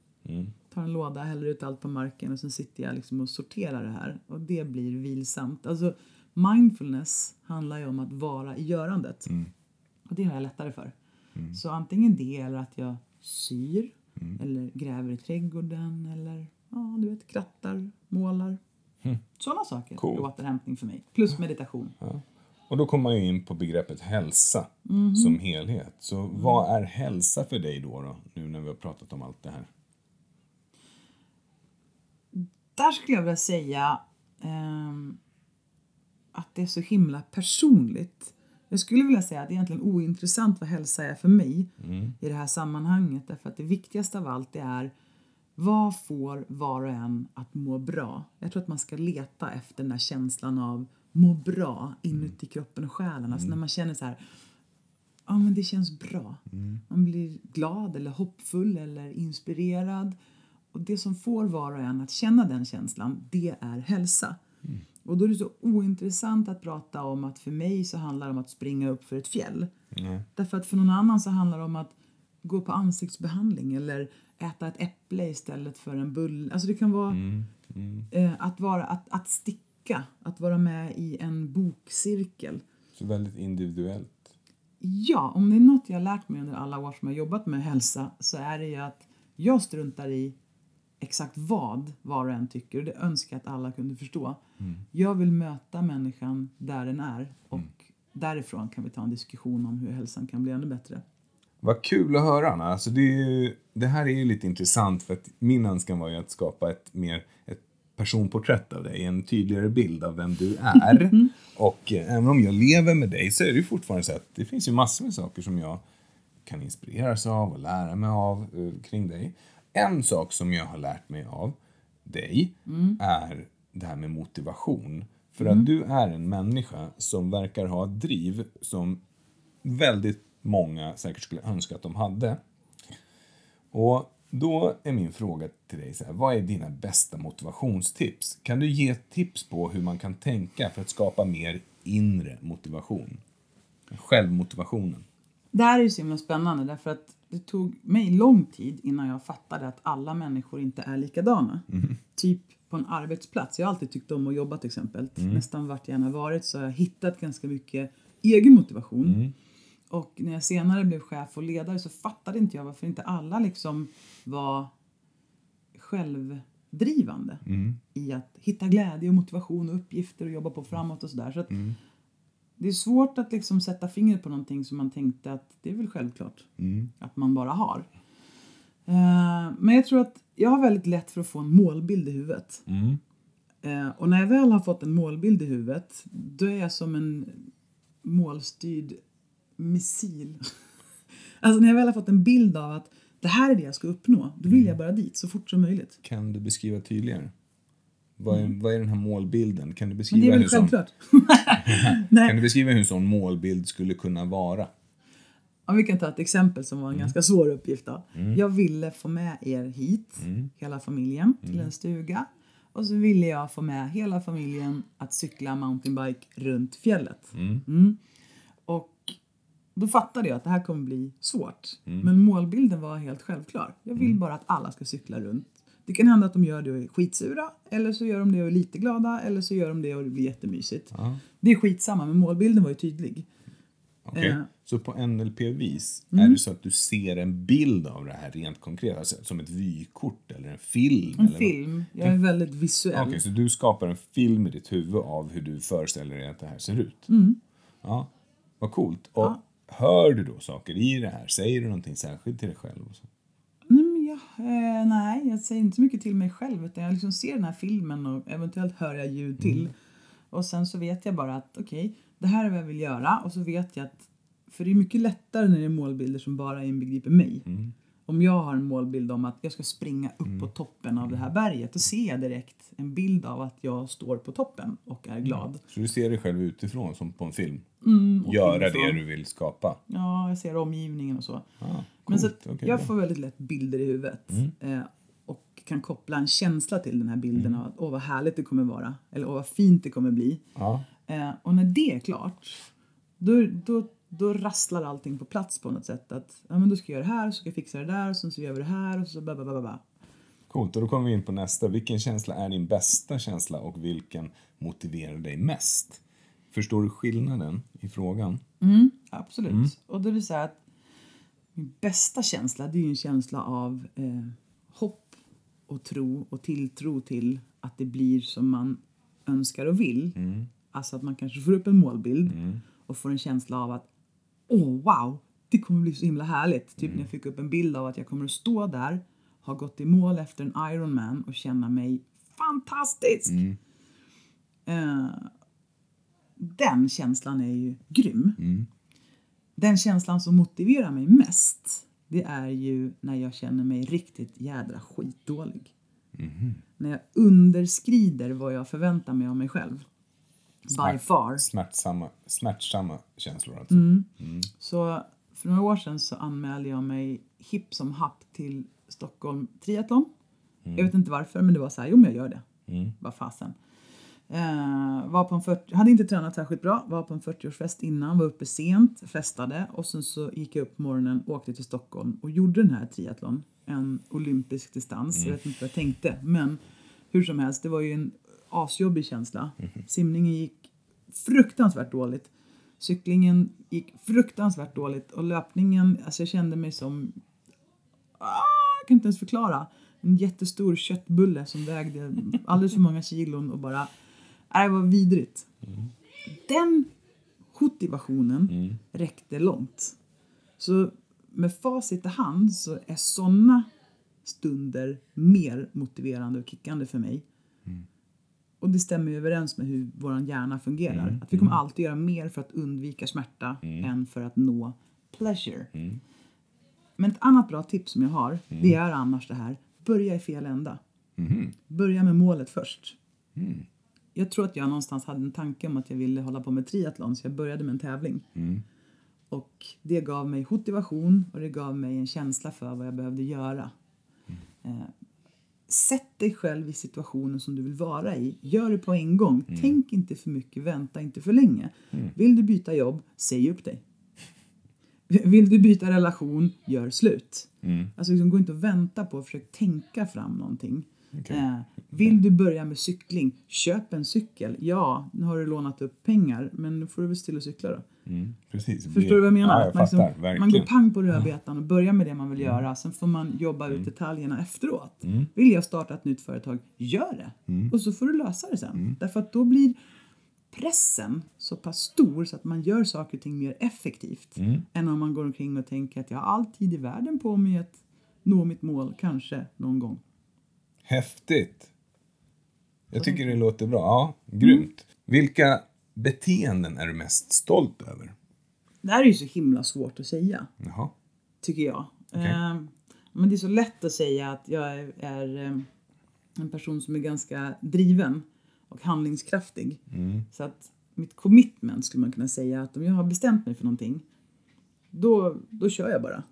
Tar en låda, häller ut allt på marken och sen sitter jag liksom och sorterar det här. Och det blir vilsamt. Alltså, mindfulness handlar ju om att vara i görandet. Och det har jag lättare för. Så antingen det eller att jag syr eller gräver i trädgården eller ja, du vet, krattar, målar. Sådana saker Coolt. är återhämtning för mig. Plus meditation. Och då kommer man ju in på begreppet hälsa Mhm. som helhet. Så vad är hälsa för dig då, då, nu när vi har pratat om allt det här? där skulle jag vilja säga ehm, att det är så himla personligt. Jag skulle vilja säga att det är egentligen ointressant vad hälsa är för mig i det här sammanhanget. Därför att det viktigaste av allt det är vad får var och en att må bra? Jag tror att man ska leta efter den där känslan av må bra inuti kroppen och själen. Alltså när man känner så här, ja men det känns bra. Man blir glad eller hoppfull eller inspirerad. Och det som får var och en att känna den känslan, det är hälsa. Och då är det så ointressant att prata om att för mig så handlar det om att springa upp för ett fjäll. Därför att för någon annan så handlar det om att gå på ansiktsbehandling eller äta ett äpple istället för en bulle. Alltså det kan vara Eh, att, vara, att, att sticka, att vara med i en bokcirkel. Så väldigt individuellt. Ja, om det är något jag har lärt mig under alla år som jag har jobbat med hälsa så är det ju att jag struntar i exakt vad var och en tycker och det önskar jag att alla kunde förstå. Jag vill möta människan där den är och därifrån kan vi ta en diskussion om hur hälsan kan bli ännu bättre. Vad kul att höra, Anna. Alltså det, är ju, det här är ju lite intressant för att min önskan var ju att skapa ett mer ett personporträtt av dig, en tydligare bild av vem du är. och eh, även om jag lever med dig så är det ju fortfarande så att det finns ju massor med saker som jag kan inspireras av och lära mig av eh, kring dig. En sak som jag har lärt mig av dig är det här med motivation. För att du är en människa som verkar ha ett driv som väldigt många säkert skulle önska att de hade. Och då är min fråga till dig så här, vad är dina bästa motivationstips? Kan du ge tips på hur man kan tänka för att skapa mer inre motivation? Självmotivationen. Det här är ju så himla spännande därför att det tog mig lång tid innan jag fattade att alla människor inte är likadana. Typ på en arbetsplats. Jag har alltid tyckt om att jobba till exempel. Nästan vart jag än har varit så har jag hittat ganska mycket egen motivation. Och när jag senare blev chef och ledare så fattade inte jag varför inte alla liksom var självdrivande i att hitta glädje och motivation och uppgifter och jobba på framåt och sådär. Så att det är svårt att liksom sätta fingret på någonting som man tänkte att det är väl självklart att man bara har. Eh, men jag tror att jag har väldigt lätt för att få en målbild i huvudet. Eh, och när jag väl har fått en målbild i huvudet då är jag som en målstyrd missil. alltså när jag väl har fått en bild av att det här är det jag ska uppnå, då vill jag bara dit så fort som möjligt. Kan du beskriva tydligare? Vad är, vad är den här målbilden? Kan Mm. du Men det beskriva, är väl hur, sån, självklart. kan du beskriva hur en sån målbild skulle kunna vara? Om vi kan ta ett exempel som var Mm. en ganska svår uppgift då. Jag ville få med er hit, Mm. hela familjen, till en stuga. Och så ville jag få med hela familjen att cykla mountainbike runt fjället. Mm. Och då fattade jag att det här kommer bli svårt. Mm. Men målbilden var helt självklar. Jag vill bara att alla ska cykla runt. Det kan hända att de gör det och är skitsura, eller så gör de det och är lite glada, eller så gör de det och det blir jättemysigt. Det är skitsamma, men målbilden var ju tydlig. Okej? Eh. Så på NLP-vis, är Mm. det så att du ser en bild av det här rent konkret? Alltså, som ett vykort eller en film? En eller vad? film. Jag är väldigt visuell. Okej, så du skapar en film i ditt huvud av hur du föreställer dig att det här ser ut? Mm. Ja, vad coolt. Och hör du då saker i det här? Säger du någonting särskilt till dig själv? Och så? Nej, men jag, eh, nej, jag säger inte så mycket till mig själv utan jag liksom ser den här filmen och eventuellt hör jag ljud till. Och sen så vet jag bara att okej, det här är vad jag vill göra och så vet jag att för det är mycket lättare när det är målbilder som bara inbegriper mig. Om jag har en målbild om att jag ska springa upp på toppen av det här berget, då ser jag direkt en bild av att jag står på toppen och är glad. Så du ser dig själv utifrån som på en film? Mm, Göra det inifrån. du vill skapa? Ja, jag ser omgivningen och så. Ah, Men så coolt. att Okej, jag bra. Mm. får väldigt lätt bilder i huvudet eh, och kan koppla en känsla till den här bilden av att åh vad härligt det kommer vara eller åh vad fint det kommer bli. ja. Eh, och när det är klart då, då, då rasslar allting på plats på något sätt. Att ja, men då ska jag göra det här, så ska jag fixa det där, och sen så gör vi det här och så ba, ba, ba, ba, ba. Coolt, och då kommer vi in på nästa. Vilken känsla är din bästa känsla och vilken motiverar dig mest? Förstår du skillnaden i frågan? Absolut. Och det blir så här att min bästa känsla det är ju en känsla av eh, hopp och tro och tilltro till att det blir som man önskar och vill. Alltså att man kanske får upp en målbild och får en känsla av att åh wow, det kommer bli så himla härligt. Typ när jag fick upp en bild av att jag kommer att stå där, ha gått i mål efter en Ironman och känna mig fantastisk. Eh, den känslan är ju grym den känslan som motiverar mig mest det är ju när jag känner mig riktigt jädra skitdålig. När jag underskrider vad jag förväntar mig av mig själv. By far. Smärtsamma, smärtsamma känslor alltså. Mm. Så för några år sedan så anmälde jag mig hipp som happ till Stockholm Triathlon. Jag vet inte varför, men det var så här, jo men jag gör det. Vad fasen. Eh, var på en 40, hade inte tränat särskilt bra, var på en 40-årsfest innan, var uppe sent, festade och sen så gick jag upp på morgonen, åkte till Stockholm och gjorde den här triathlon. En olympisk distans, jag vet inte vad jag tänkte men hur som helst, det var ju en asjobbig känsla. Simningen gick fruktansvärt dåligt. Cyklingen gick fruktansvärt dåligt och löpningen, alltså jag kände mig som... Ah, jag kan inte ens förklara. En jättestor köttbulle som vägde alldeles för många kilon och bara... Nej, det var vidrigt. Den motivationen räckte långt. Så med facit i hand så är såna stunder mer motiverande och kickande för mig. Och det stämmer ju överens med hur vår hjärna fungerar. Att vi kommer alltid göra mer för att undvika smärta än för att nå pleasure. Men ett annat bra tips som jag har, det är annars det här. Börja i fel ända. Börja med målet först. Jag tror att jag någonstans hade en tanke om att jag ville hålla på med triathlon så jag började med en tävling. Och det gav mig motivation och det gav mig en känsla för vad jag behövde göra. Eh, Sätt dig själv i situationen som du vill vara i. Gör det på en gång. Tänk inte för mycket, vänta inte för länge. Vill du byta jobb, säg upp dig. Vill du byta relation, gör slut. Alltså liksom, gå inte och vänta på, försök tänka fram någonting. Eh, vill du börja med cykling, köp en cykel. Ja, nu har du lånat upp pengar, men nu får du väl stilla och cykla då. Mm, precis. Förstår du vad jag menar? Ja, jag Att man, fattar. liksom, verkligen. Mm. man går pang på rödbetan och börjar med det man vill göra. Sen får man jobba ut detaljerna efteråt. Mm. Vill jag starta ett nytt företag, gör det! Och så får du lösa det sen. Mm. Därför att då blir pressen så pass stor så att man gör saker och ting mer effektivt. Mm. Än om man går omkring och tänker att jag har all tid i världen på mig att nå mitt mål, kanske någon gång. Häftigt! Jag tycker Mm. det låter bra. Ja, grymt. Vilka beteenden är du mest stolt över? Det här är ju så himla svårt att säga. Jaha. tycker jag. Eh, men det är så lätt att säga att jag är, är eh, en person som är ganska driven och handlingskraftig. Så att mitt commitment skulle man kunna säga att om jag har bestämt mig för någonting då, då kör jag bara.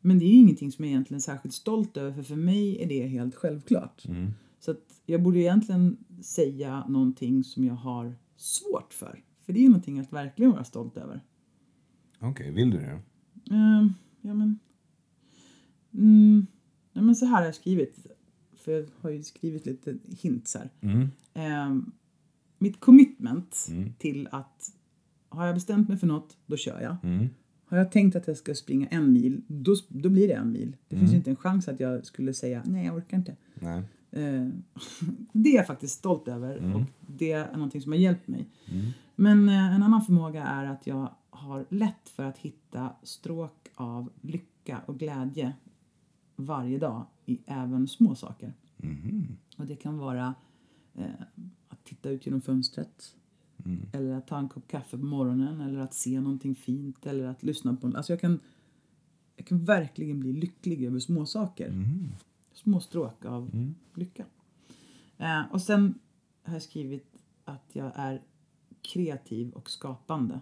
Men det är ju ingenting som jag egentligen är särskilt stolt över för för mig är det helt självklart. Så att jag borde egentligen säga någonting som jag har svårt för. För det är ju någonting att verkligen vara stolt över. Okej, vill du det? Ehm, ja, men... Mm, ja, men så här har jag skrivit. För jag har ju skrivit lite Mm, hints här. Ehm, mitt commitment till att har jag bestämt mig för något, då kör jag. Mm. Har jag tänkt att jag ska springa en mil, då, då blir det en mil. Det finns ju inte en chans att jag skulle säga nej, jag orkar inte. Nej. Eh, det är jag faktiskt stolt över och det är någonting som har hjälpt mig. Men eh, en annan förmåga är att jag har lätt för att hitta stråk av lycka och glädje varje dag i även små saker. Mm, Och det kan vara eh, att titta ut genom fönstret eller att ta en kopp kaffe på morgonen eller att se någonting fint eller att lyssna på... Alltså jag kan, jag kan verkligen bli lycklig över små saker små stråk av lycka. Eh, och sen har jag skrivit att jag är kreativ och skapande.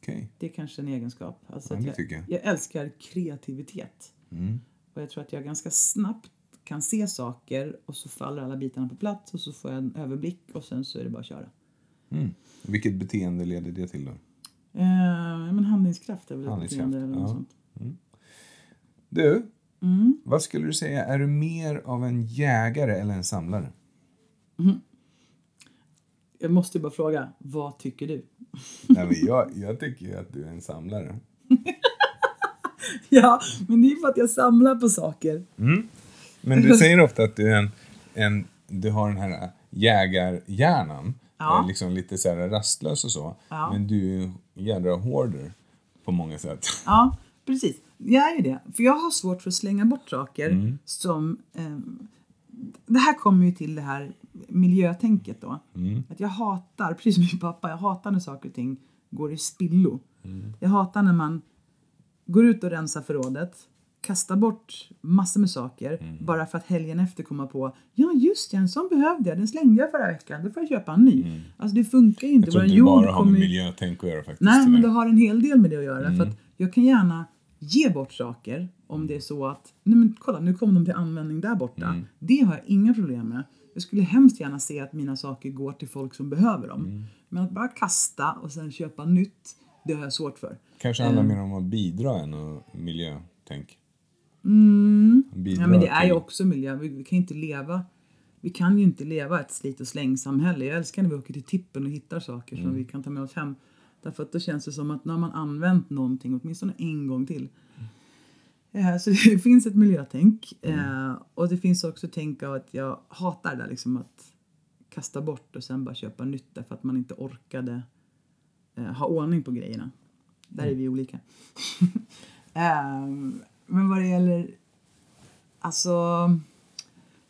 Okej. Det är kanske en egenskap. Alltså Ja, att det jag, tycker jag. Mm. älskar kreativitet. Och jag tror att jag ganska snabbt kan se saker och så faller alla bitarna på plats och så får jag en överblick och sen så är det bara att köra. Mm. Vilket beteende leder det till då? Eh, men handlingskraft är väl ett Handlingskraft, beteende eller något ja. sånt. Du, Mm. vad skulle du säga, är du mer av en jägare eller en samlare? Jag måste ju bara fråga, vad tycker du? Nej, men jag, jag tycker ju att du är en samlare. ja, men det är ju för att jag samlar på saker. Men du säger ofta att du, är en, en, du har den här jägarhjärnan. Ja. eh, Liksom lite så här rastlös och så. Ja. Men du är ju en jädra hoarder på många sätt. Ja, precis. Jag är ju det. För jag har svårt för att slänga bort saker Mm. som... Eh, det här kommer ju till det här miljötänket då. Mm. Att jag hatar, precis som min pappa, jag hatar när saker och ting går i spillo. Mm. Jag hatar när man går ut och rensar förrådet, kastar bort massor med saker Mm. bara för att helgen efter komma på ja just det, en sån behövde jag, den slängde jag förra veckan, då får jag köpa en ny. Alltså det funkar ju inte. Mm. Jag tror Vår inte det jord bara har med kommer ju- miljötänk att göra faktiskt. Nej, men tyvärr. det har en hel del med det att göra. För att jag kan gärna ge bort saker om det är så att, nej men kolla nu kom de till användning där borta. Det har jag inga problem med. Jag skulle hemskt gärna se att mina saker går till folk som behöver dem. Men att bara kasta och sen köpa nytt, det har jag svårt för. Kanske handlar Mm. mer om att bidra än att miljötänk. Bidra Mm. Ja, men det är till- ju också miljö. Vi, vi kan ju inte leva vi kan ju inte leva ett slit och släng-samhälle. Jag älskar när vi åker till tippen och hittar saker Mm. som vi kan ta med oss hem. Därför att då känns det som att nu har man använt någonting åtminstone en gång till. Eh, Så det finns ett miljötänk. Mm. Eh, Och det finns också tänk av att jag hatar det där liksom att kasta bort och sen bara köpa nytt därför att man inte orkade eh, ha ordning på grejerna. Där Mm. är vi olika. Ehm, men vad det gäller Alltså,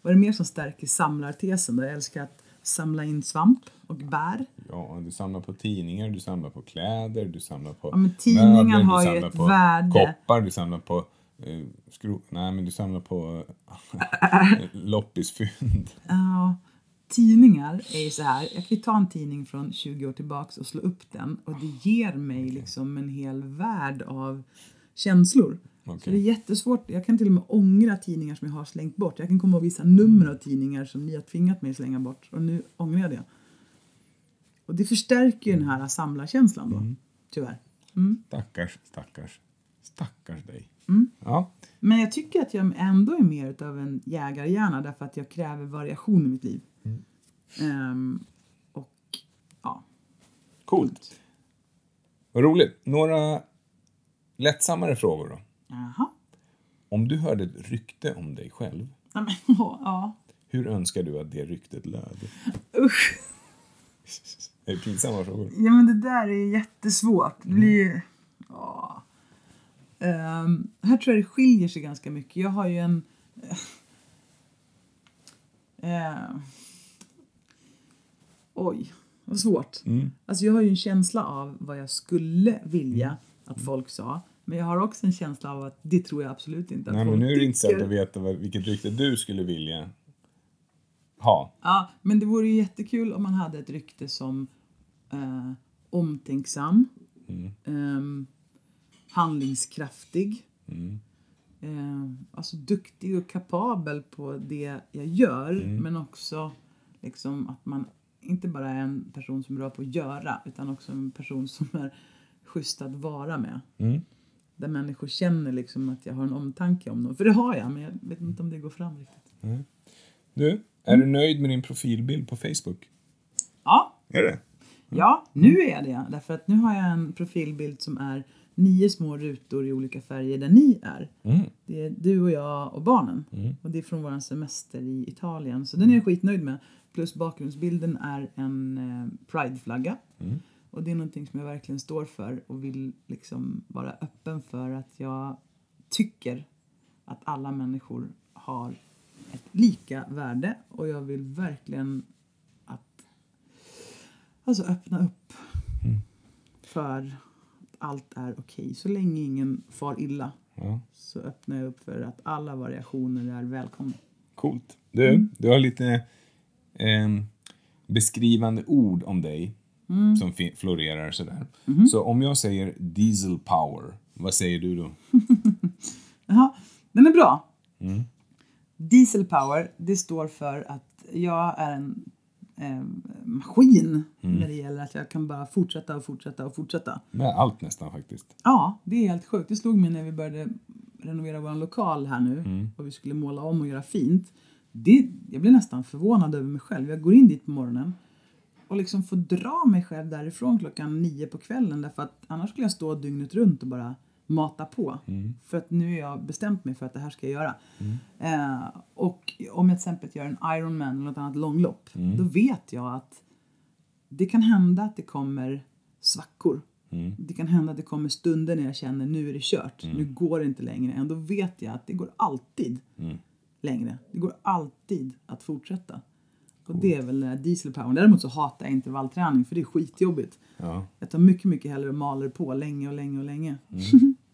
vad är det mer som stärker samlartesen? då? Jag älskar att samla in svamp och bär. Ja, du samlar på tidningar, du samlar på kläder, du samlar på Ja, men tidningar möbler, du har ju samlar ett på värde. koppar, du samlar på eh, skro... Nej, men du samlar på eh, loppisfynd. Ja, Eh, tidningar är ju så här. Jag kan ju ta en tidning från 20 år tillbaks och slå upp den och det ger mig liksom en hel värld av känslor. Så Okej. det är jättesvårt. Jag kan till och med ångra tidningar som jag har slängt bort. Jag kan komma ihåg vissa nummer av tidningar som ni har tvingat mig att slänga bort och nu ångrar jag det. Och det förstärker ju den här samlarkänslan då, tyvärr. Stackars, stackars, stackars dig. Mm. Ja, Men jag tycker att jag ändå är mer utav en jägarhjärna därför att jag kräver variation i mitt liv. Ehm, och ja, coolt. Vad roligt. Några lättsammare frågor då. jaha. Om du hörde ett rykte om dig själv, Nej, men, ja, ja. hur önskar du att det ryktet löd? Usch. Det är pinsamma frågor. Ja men det där är jättesvårt. Det blir Mm. ju... Ja. Ehm, här tror jag det skiljer sig ganska mycket. Jag har ju en... Ehm. oj, vad svårt. Mm. Alltså jag har ju en känsla av vad jag skulle vilja Mm. att folk sa. Men jag har också en känsla av att det tror jag absolut inte att Nej, folk men nu är det tycker. intressant att veta vad- vilket rykte du skulle vilja ha. Ja, men det vore ju jättekul om man hade ett rykte som eh, omtänksam, ehm, handlingskraftig, eh, alltså duktig och kapabel på det jag gör, men också liksom att man inte bara är en person som är bra på att göra, utan också en person som är schysst att vara med. Där människor känner liksom att jag har en omtanke om dem. För det har jag, men jag vet inte om det går fram riktigt. Mm. Du, är du nöjd med din profilbild på Facebook? Ja, Är det? Ja, nu är jag det. Därför att nu har jag en profilbild som är nio små rutor i olika färger där ni är. Mm. Det är du och jag och barnen. Och det är från vår semester i Italien. Så den är jag skitnöjd med. Plus bakgrundsbilden är en eh, prideflagga. Och det är någonting som jag verkligen står för och vill liksom vara öppen för att jag tycker att alla människor har ett lika värde och jag vill verkligen att alltså öppna upp för att allt är okej. Så länge ingen far illa Ja. så öppnar jag upp för att alla variationer är välkomna. Coolt. Du, Mm. du har lite ehm, beskrivande ord om dig Mm. som fi- florerar sådär. Mm-hmm. Så om jag säger diesel power, vad säger du då? Jaha, den är bra. Diesel power, det står för att jag är en eh, maskin när det gäller att jag kan bara fortsätta och fortsätta och fortsätta. Med allt nästan faktiskt. Ja, det är helt sjukt. Det slog mig när vi började renovera vår lokal här nu och vi skulle måla om och göra fint. Det, jag blev nästan förvånad över mig själv. Jag går in dit på morgonen och liksom får dra mig själv därifrån klockan nio på kvällen därför att annars skulle jag stå dygnet runt och bara mata på. För att nu har jag bestämt mig för att det här ska jag göra. Eh, och om jag till exempel gör en Ironman eller något annat långlopp, då vet jag att det kan hända att det kommer svackor. Det kan hända att det kommer stunder när jag känner nu är det kört, nu går det inte längre. Ändå vet jag att det går alltid längre. Det går alltid att fortsätta. Och det är väl den här dieselpowern. Däremot så hatar jag intervallträning för det är skitjobbigt. Ja, Jag tar mycket, mycket hellre och maler på länge och länge och länge.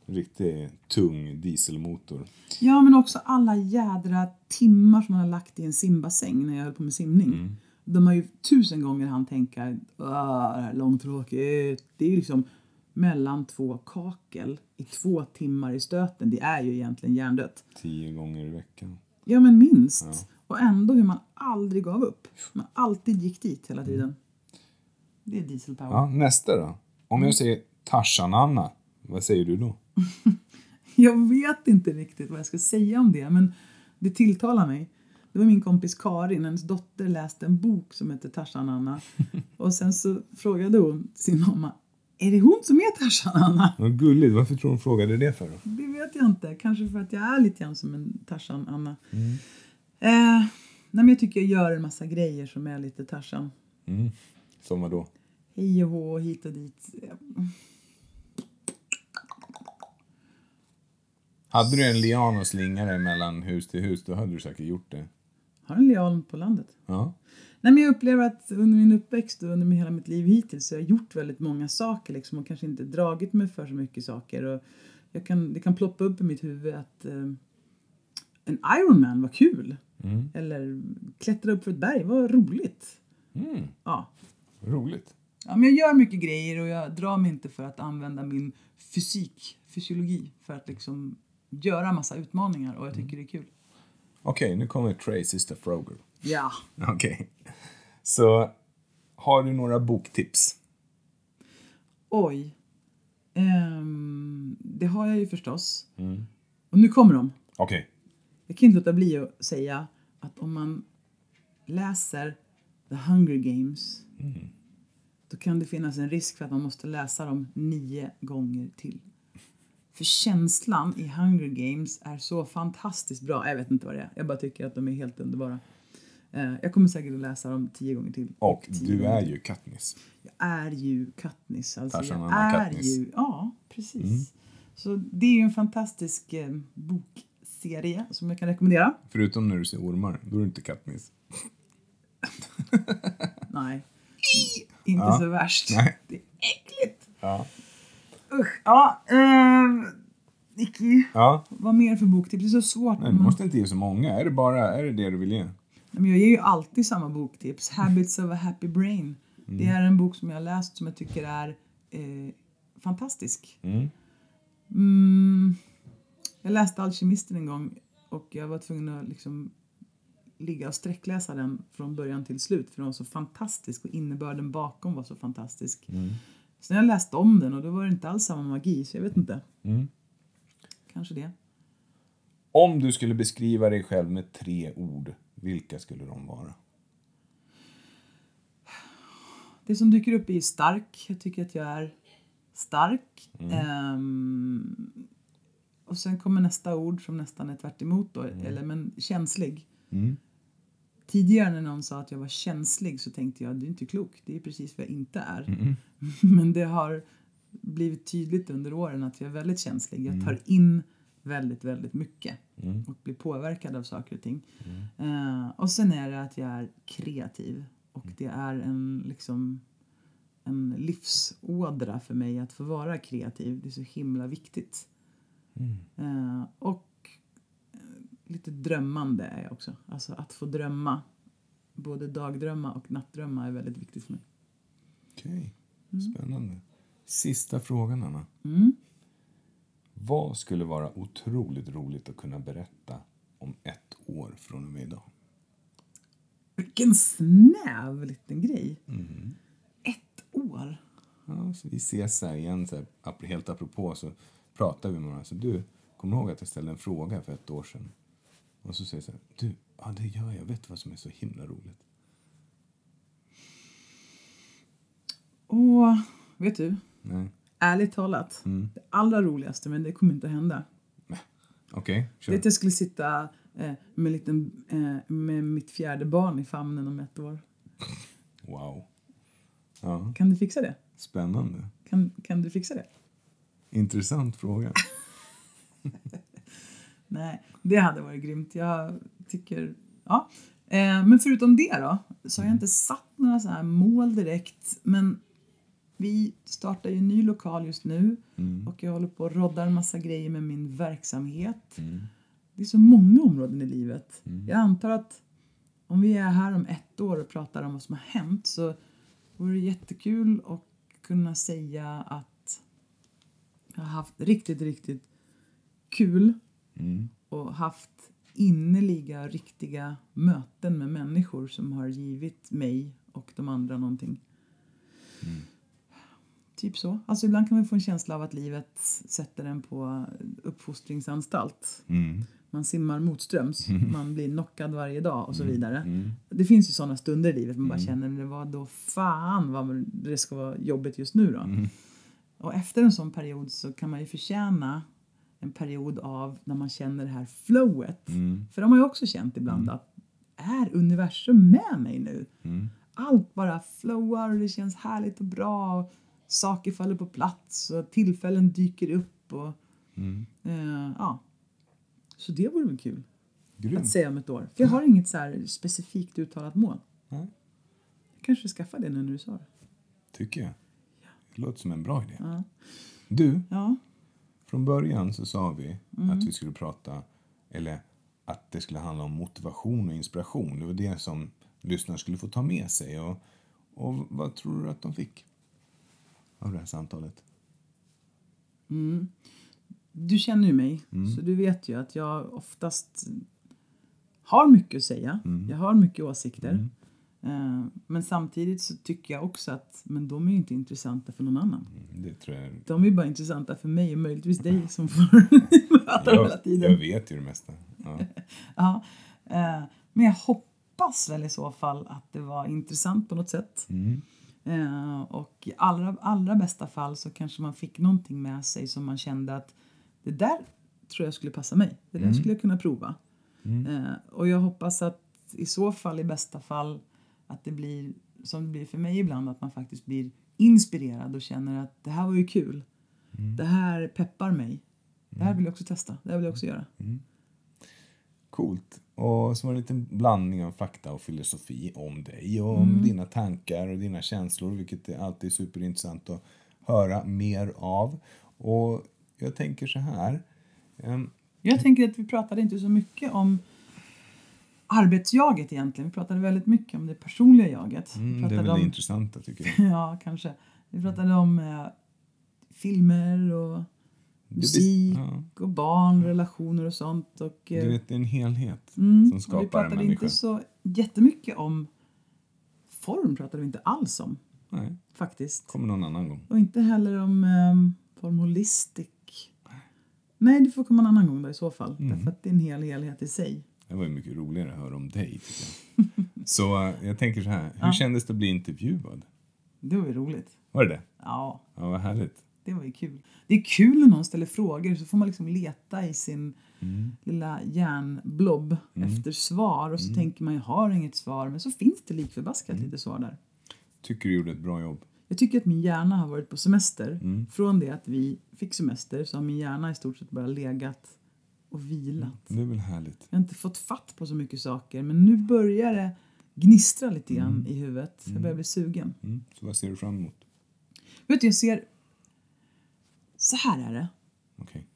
riktigt tung dieselmotor. Ja, men också alla jädra timmar som man har lagt i en simbassäng när jag höll på med simning. De har ju tusen gånger han tänka "Åh, det här är långtråkigt. Det är ju liksom mellan två kakel i två timmar i stöten. Det är ju egentligen hjärndött. Tio gånger i veckan. Ja, men minst. Och ändå hur man aldrig gav upp. Man alltid gick dit hela tiden. Det är dieselpower. Ja, nästa då. Om Mm. jag säger Tarzan-Anna, vad säger du då? Jag vet inte riktigt vad jag ska säga om det, men det tilltalar mig. Det var min kompis Karin, hennes dotter läste en bok som hette Tarzan Anna. Och sen så frågade hon sin mamma, är det hon som är Tarzan Anna? Vad gulligt, varför tror du hon frågade det för då? Det vet jag inte, kanske för att jag är lite grann som en Tarzan Anna. Eh, nej men jag tycker jag gör en massa grejer som är lite Tarzan. Som vadå? Hej och hå, hit och dit. Hade du en lian och slingare mellan hus till hus, då hade du säkert gjort det. Har en lian på landet. Ja. Nej, men jag upplever att under min uppväxt och under min- hela mitt liv hittills så har jag gjort väldigt många saker liksom, och kanske inte dragit mig för så mycket saker. Och jag kan, det kan ploppa upp i mitt huvud att eh, en Ironman var kul. Eller klättra upp för ett berg var roligt. Mm, Ja. roligt. ja, men jag gör mycket grejer och jag drar mig inte för att använda min fysik, fysiologi, för att liksom göra massa utmaningar och jag tycker det är kul. Okej, nu kommer Trey Sister Froger. Ja. Okej. Så, har du några boktips? Oj. Ehm, det har jag ju förstås. Mm. Och nu kommer de. Okej. Jag kan inte låta bli att säga att om man läser The Hunger Games Mm. då kan det finnas en risk för att man måste läsa dem nio gånger till. För känslan i Hunger Games är så fantastiskt bra. Jag vet inte vad det är. Jag bara tycker att de är helt underbara. Eh, Jag kommer säkert att läsa dem tio gånger till. Och tio du gånger är till. ju Katniss. Jag är ju Katniss. Alltså Tarzan jag och Anna är Katniss. Mm. ju... Ja, precis. Så det är ju en fantastisk eh, bokserie som jag kan rekommendera. Förutom när du ser ormar, då är du inte Katniss. Nej. Inte så värst. Nej. Det är äckligt. Ja. Usch. Ja, ehm... Nicky. Ja, Vad mer för boktips? Det är så svårt. men du man- måste inte ge så många. Är det bara, är det det du vill ge? Nej, Men jag ger ju alltid samma boktips. Habits of a Happy Brain. Det är en bok som jag har läst som jag tycker är eh, fantastisk. Mm, jag läste Alkemisten en gång och jag var tvungen att liksom ligga och sträckläsa den från början till slut för den var så fantastisk och innebörden bakom var så fantastisk. Sen har jag läst om den och då var det inte alls samma magi så jag vet inte. Kanske det. Om du skulle beskriva dig själv med tre ord, vilka skulle de vara? Det som dyker upp är stark. Jag tycker att jag är stark. Ehm, och sen kommer nästa ord som nästan är tvärt emot då, eller men känslig. Tidigare när någon sa att jag var känslig så tänkte jag det är inte klokt, det är precis vad jag inte är. Men det har blivit tydligt under åren att jag är väldigt känslig. Jag tar in väldigt, väldigt mycket och blir påverkad av saker och ting. Eh, och sen är det att jag är kreativ och det är en liksom en livsådra för mig att få vara kreativ. Det är så himla viktigt. Eh, och eh, lite drömmande är jag också. Alltså att få drömma. Både dagdrömma och nattdrömma är väldigt viktigt för mig. Okej, spännande. Sista frågan, Anna. Mm. Vad skulle vara otroligt roligt att kunna berätta om ett år från och med idag? Vilken snäv liten grej. Ett år. Ja, så vi ses här igen, så här, ap- helt apropå, så pratar vi med varandra. Så du, kommer du ihåg att jag ställde en fråga för ett år sedan? Och så säger jag så här, du, ja det gör jag, vet du vad som är så himla roligt? Och vet du? Nej, Ärligt talat. Det allra roligaste, men det kommer inte att hända. okej, Det är kör. att jag skulle sitta eh, med, en liten, eh, med mitt fjärde barn i famnen om ett år. Wow. Ja, Kan du fixa det? spännande. Kan, kan du fixa det? Intressant fråga. Nej, det hade varit grymt. Jag tycker... Ja. Eh, men förutom det då, så har jag inte satt några så här mål direkt. Men vi startar ju en ny lokal just nu och jag håller på och roddar en massa grejer med min verksamhet. Det är så många områden i livet. Jag antar att om vi är här om ett år och pratar om vad som har hänt så vore det jättekul att kunna säga att jag har haft riktigt, riktigt kul Mm. och haft innerliga, riktiga möten med människor som har givit mig och de andra någonting. Typ så. Alltså ibland kan man få en känsla av att livet sätter en på uppfostringsanstalt. Mm. Man simmar motströms, man blir knockad varje dag och så vidare. Det finns ju sådana stunder i livet man bara känner, det var då fan vad det ska vara jobbigt just nu då. Och efter en sån period så kan man ju förtjäna en period av när man känner det här flowet. För de har ju också känt ibland att är universum med mig nu? Allt bara flowar och det känns härligt och bra. Och saker faller på plats och tillfällen dyker upp. Och, eh, ja. Så det vore väl kul att Grymt. säga om ett år. För jag har inget så här specifikt uttalat mål. Nej, Jag kanske skaffa det nu när du sa det. tycker jag. Det låter som en bra idé. Ja. Du, Ja. Från början så sa vi Mm. att vi skulle prata, eller att det skulle handla om motivation och inspiration. Det var det som lyssnarna skulle få ta med sig. Och, och vad tror du att de fick av det här samtalet? du känner ju mig, så du vet ju att jag oftast har mycket att säga. Jag har mycket åsikter. Eh, Men samtidigt så tycker jag också att men de är ju inte intressanta för någon annan. Mm, Det tror jag... De är ju bara intressanta för mig och möjligtvis dig som får möta dem hela Jag, jag tiden. vet ju det mesta. Ja. Ja. Eh, Men jag hoppas väl i så fall att det var intressant på något sätt. Eh, Och i allra, allra bästa fall så kanske man fick någonting med sig som man kände att det där tror jag skulle passa mig. Det där skulle jag kunna prova. Eh, Och jag hoppas att i så fall, i bästa fall, att det blir som det blir för mig ibland, att man faktiskt blir inspirerad och känner att det här var ju kul. Det här peppar mig. Det här vill jag också testa. Det här vill jag också göra. Coolt. Och så var det en liten blandning av fakta och filosofi om dig och Mm. om dina tankar och dina känslor, vilket är alltid superintressant att höra mer av. Och jag tänker så här. ehm, Jag tänker att vi pratade inte så mycket om arbetsjaget egentligen. Vi pratade väldigt mycket om det personliga jaget. vi Mm, det är pratade väl det om, intressanta tycker jag. ja, kanske. Vi pratade om eh, filmer och blir- musik ja. och barn, relationer och sånt. Och, eh, Du vet, det är en helhet mm, som och vi skapar en pratade människa. inte så jättemycket om form pratade vi inte alls om Nej, faktiskt. kommer någon annan gång. Och inte heller om um, formalistic. Nej, det får komma en annan gång då i så fall. Mm. Därför att det är en hel helhet i sig. Det var ju mycket roligare att höra om dig. Tycker jag. så eh, jag tänker så här, hur kändes det att bli intervjuad? Det var ju roligt. Var det det? Ja, Ja, vad härligt. det var ju kul. Det är kul när någon ställer frågor så får man liksom leta i sin lilla hjärnblob efter svar och så tänker man jag har inget svar men så finns det likförbaskat lite svar där. Tycker du gjorde ett bra jobb. Jag tycker att min hjärna har varit på semester. Från det att vi fick semester så har min hjärna i stort sett bara legat och vilat. Det är väl härligt. Jag har inte fått fatt på så mycket saker men nu börjar det gnistra lite grann i huvudet. Jag börjar bli sugen. Mm. Så vad ser du fram emot? Vet du, jag ser... Så här är det. Okej.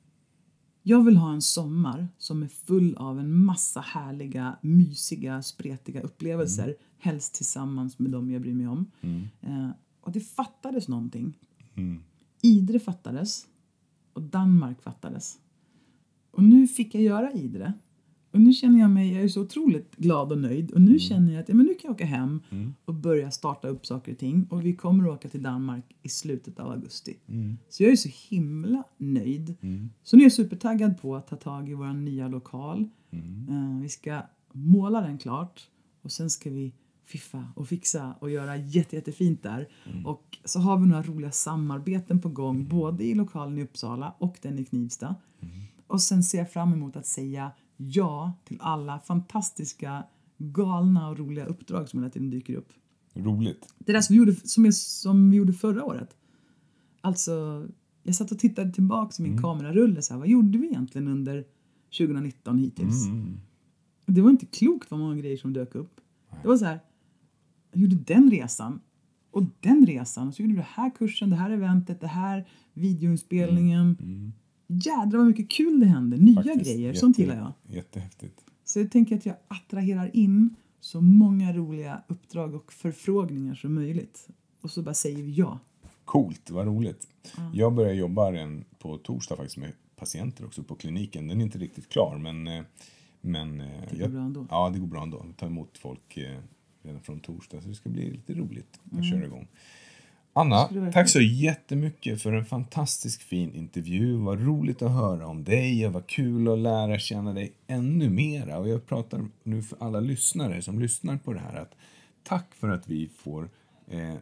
Jag vill ha en sommar som är full av en massa härliga, mysiga, spretiga upplevelser. Helst tillsammans med dem jag bryr mig om. Eh, och det fattades någonting. Mm. Idre fattades. Och Danmark fattades. Och nu fick jag göra Idre. Och nu känner jag mig, jag är så otroligt glad och nöjd. Och nu känner jag att ja, men nu kan jag åka hem och börja starta upp saker och ting. Och vi kommer att åka till Danmark i slutet av augusti. Så jag är så himla nöjd. Så nu är jag supertaggad på att ta tag i vår nya lokal. Eh, vi ska måla den klart. Och sen ska vi fiffa och fixa och göra jätte, jättefint där. Och så har vi några roliga samarbeten på gång både i lokalen i Uppsala och den i Knivsta. Och sen ser jag fram emot att säga ja till alla fantastiska, galna och roliga uppdrag som hela tiden dyker upp. Roligt. Det där som vi gjorde, som jag, som vi gjorde förra året. Alltså, jag satt och tittade tillbaka i min kamerarulle. Så här, vad gjorde vi egentligen under 2019 hittills? Mm. Det var inte klokt vad många grejer som dök upp. Det var så här, jag gjorde den resan och den resan. Och så gjorde vi den här kursen, det här eventet, det här videoinspelningen. Jädrar vad mycket kul det hände. Nya Faktiskt. grejer. Jätte- Sånt gillar jag. Jättehäftigt. Så jag tänker att jag attraherar in så många roliga uppdrag och förfrågningar som möjligt. Och så bara säger vi ja. Coolt, vad roligt. Jag börjar jobba redan på torsdag faktiskt med patienter också på kliniken. Den är inte riktigt klar men... eh, men det går bra ändå. Ja, det går bra ändå. Vi tar emot folk eh, redan från torsdag så det ska bli lite roligt att Mm. köra igång. Anna, Skulle det tack så jättemycket för en fantastisk fin intervju. Vad roligt att höra om dig och vad kul att lära känna dig ännu mera. Och jag pratar nu för alla lyssnare som lyssnar på det här att tack för att vi får eh,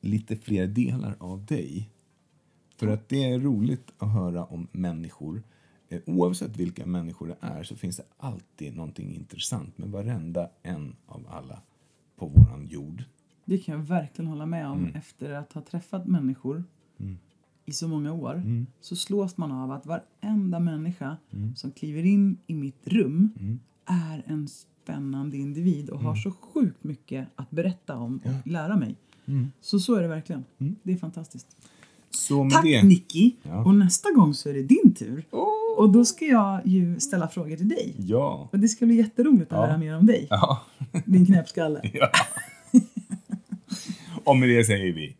lite fler delar av dig. För att det är roligt att höra om människor. Eh, Oavsett vilka människor det är så finns det alltid någonting intressant med varenda en av alla på våran jord. Det kan jag verkligen hålla med om efter att ha träffat människor i så många år. Så slås man av att varenda människa som kliver in i mitt rum är en spännande individ och har så sjukt mycket att berätta om och lära mig. Så så är det verkligen. Det är fantastiskt. Så med Tack det... Nicky! Ja. Och nästa gång så är det din tur. Och då ska jag ju ställa frågor till dig. Ja. Och det ska bli jätteroligt att Ja. höra mer om dig. ja. Din knäppskalle. Och med det säger vi...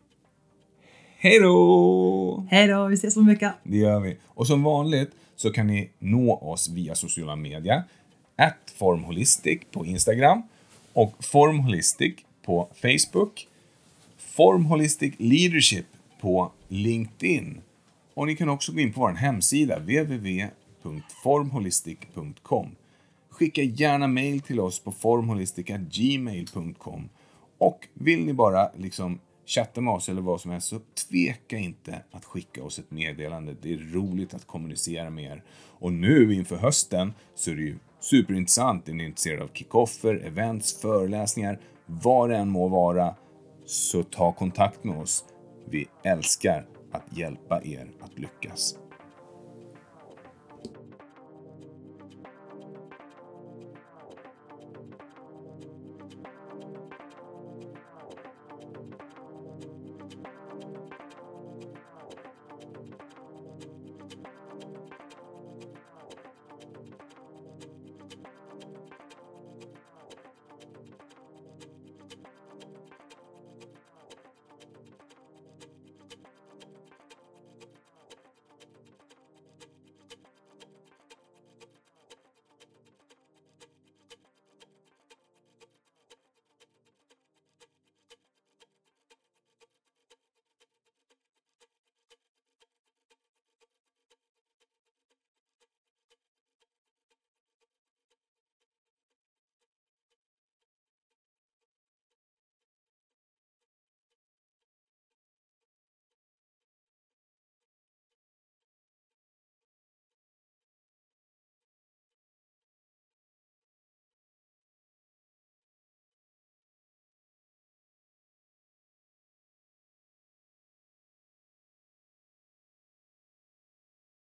Hej då! Hej då, vi ses om en vecka. Det gör vi. Och som vanligt så kan ni nå oss via sociala media. At formholistic på Instagram och formholistic på Facebook. Formholistic leadership på LinkedIn. Och ni kan också gå in på vår hemsida www.formholistic.com. Skicka gärna mail till oss på formholistic.gmail.com. Och vill ni bara liksom chatta med oss eller vad som helst så tveka inte att skicka oss ett meddelande. Det är roligt att kommunicera med er. Och nu inför hösten så är det ju superintressant. Är ni intresserade av kickoffer, events, föreläsningar, vad det än må vara, så ta kontakt med oss. Vi älskar att hjälpa er att lyckas.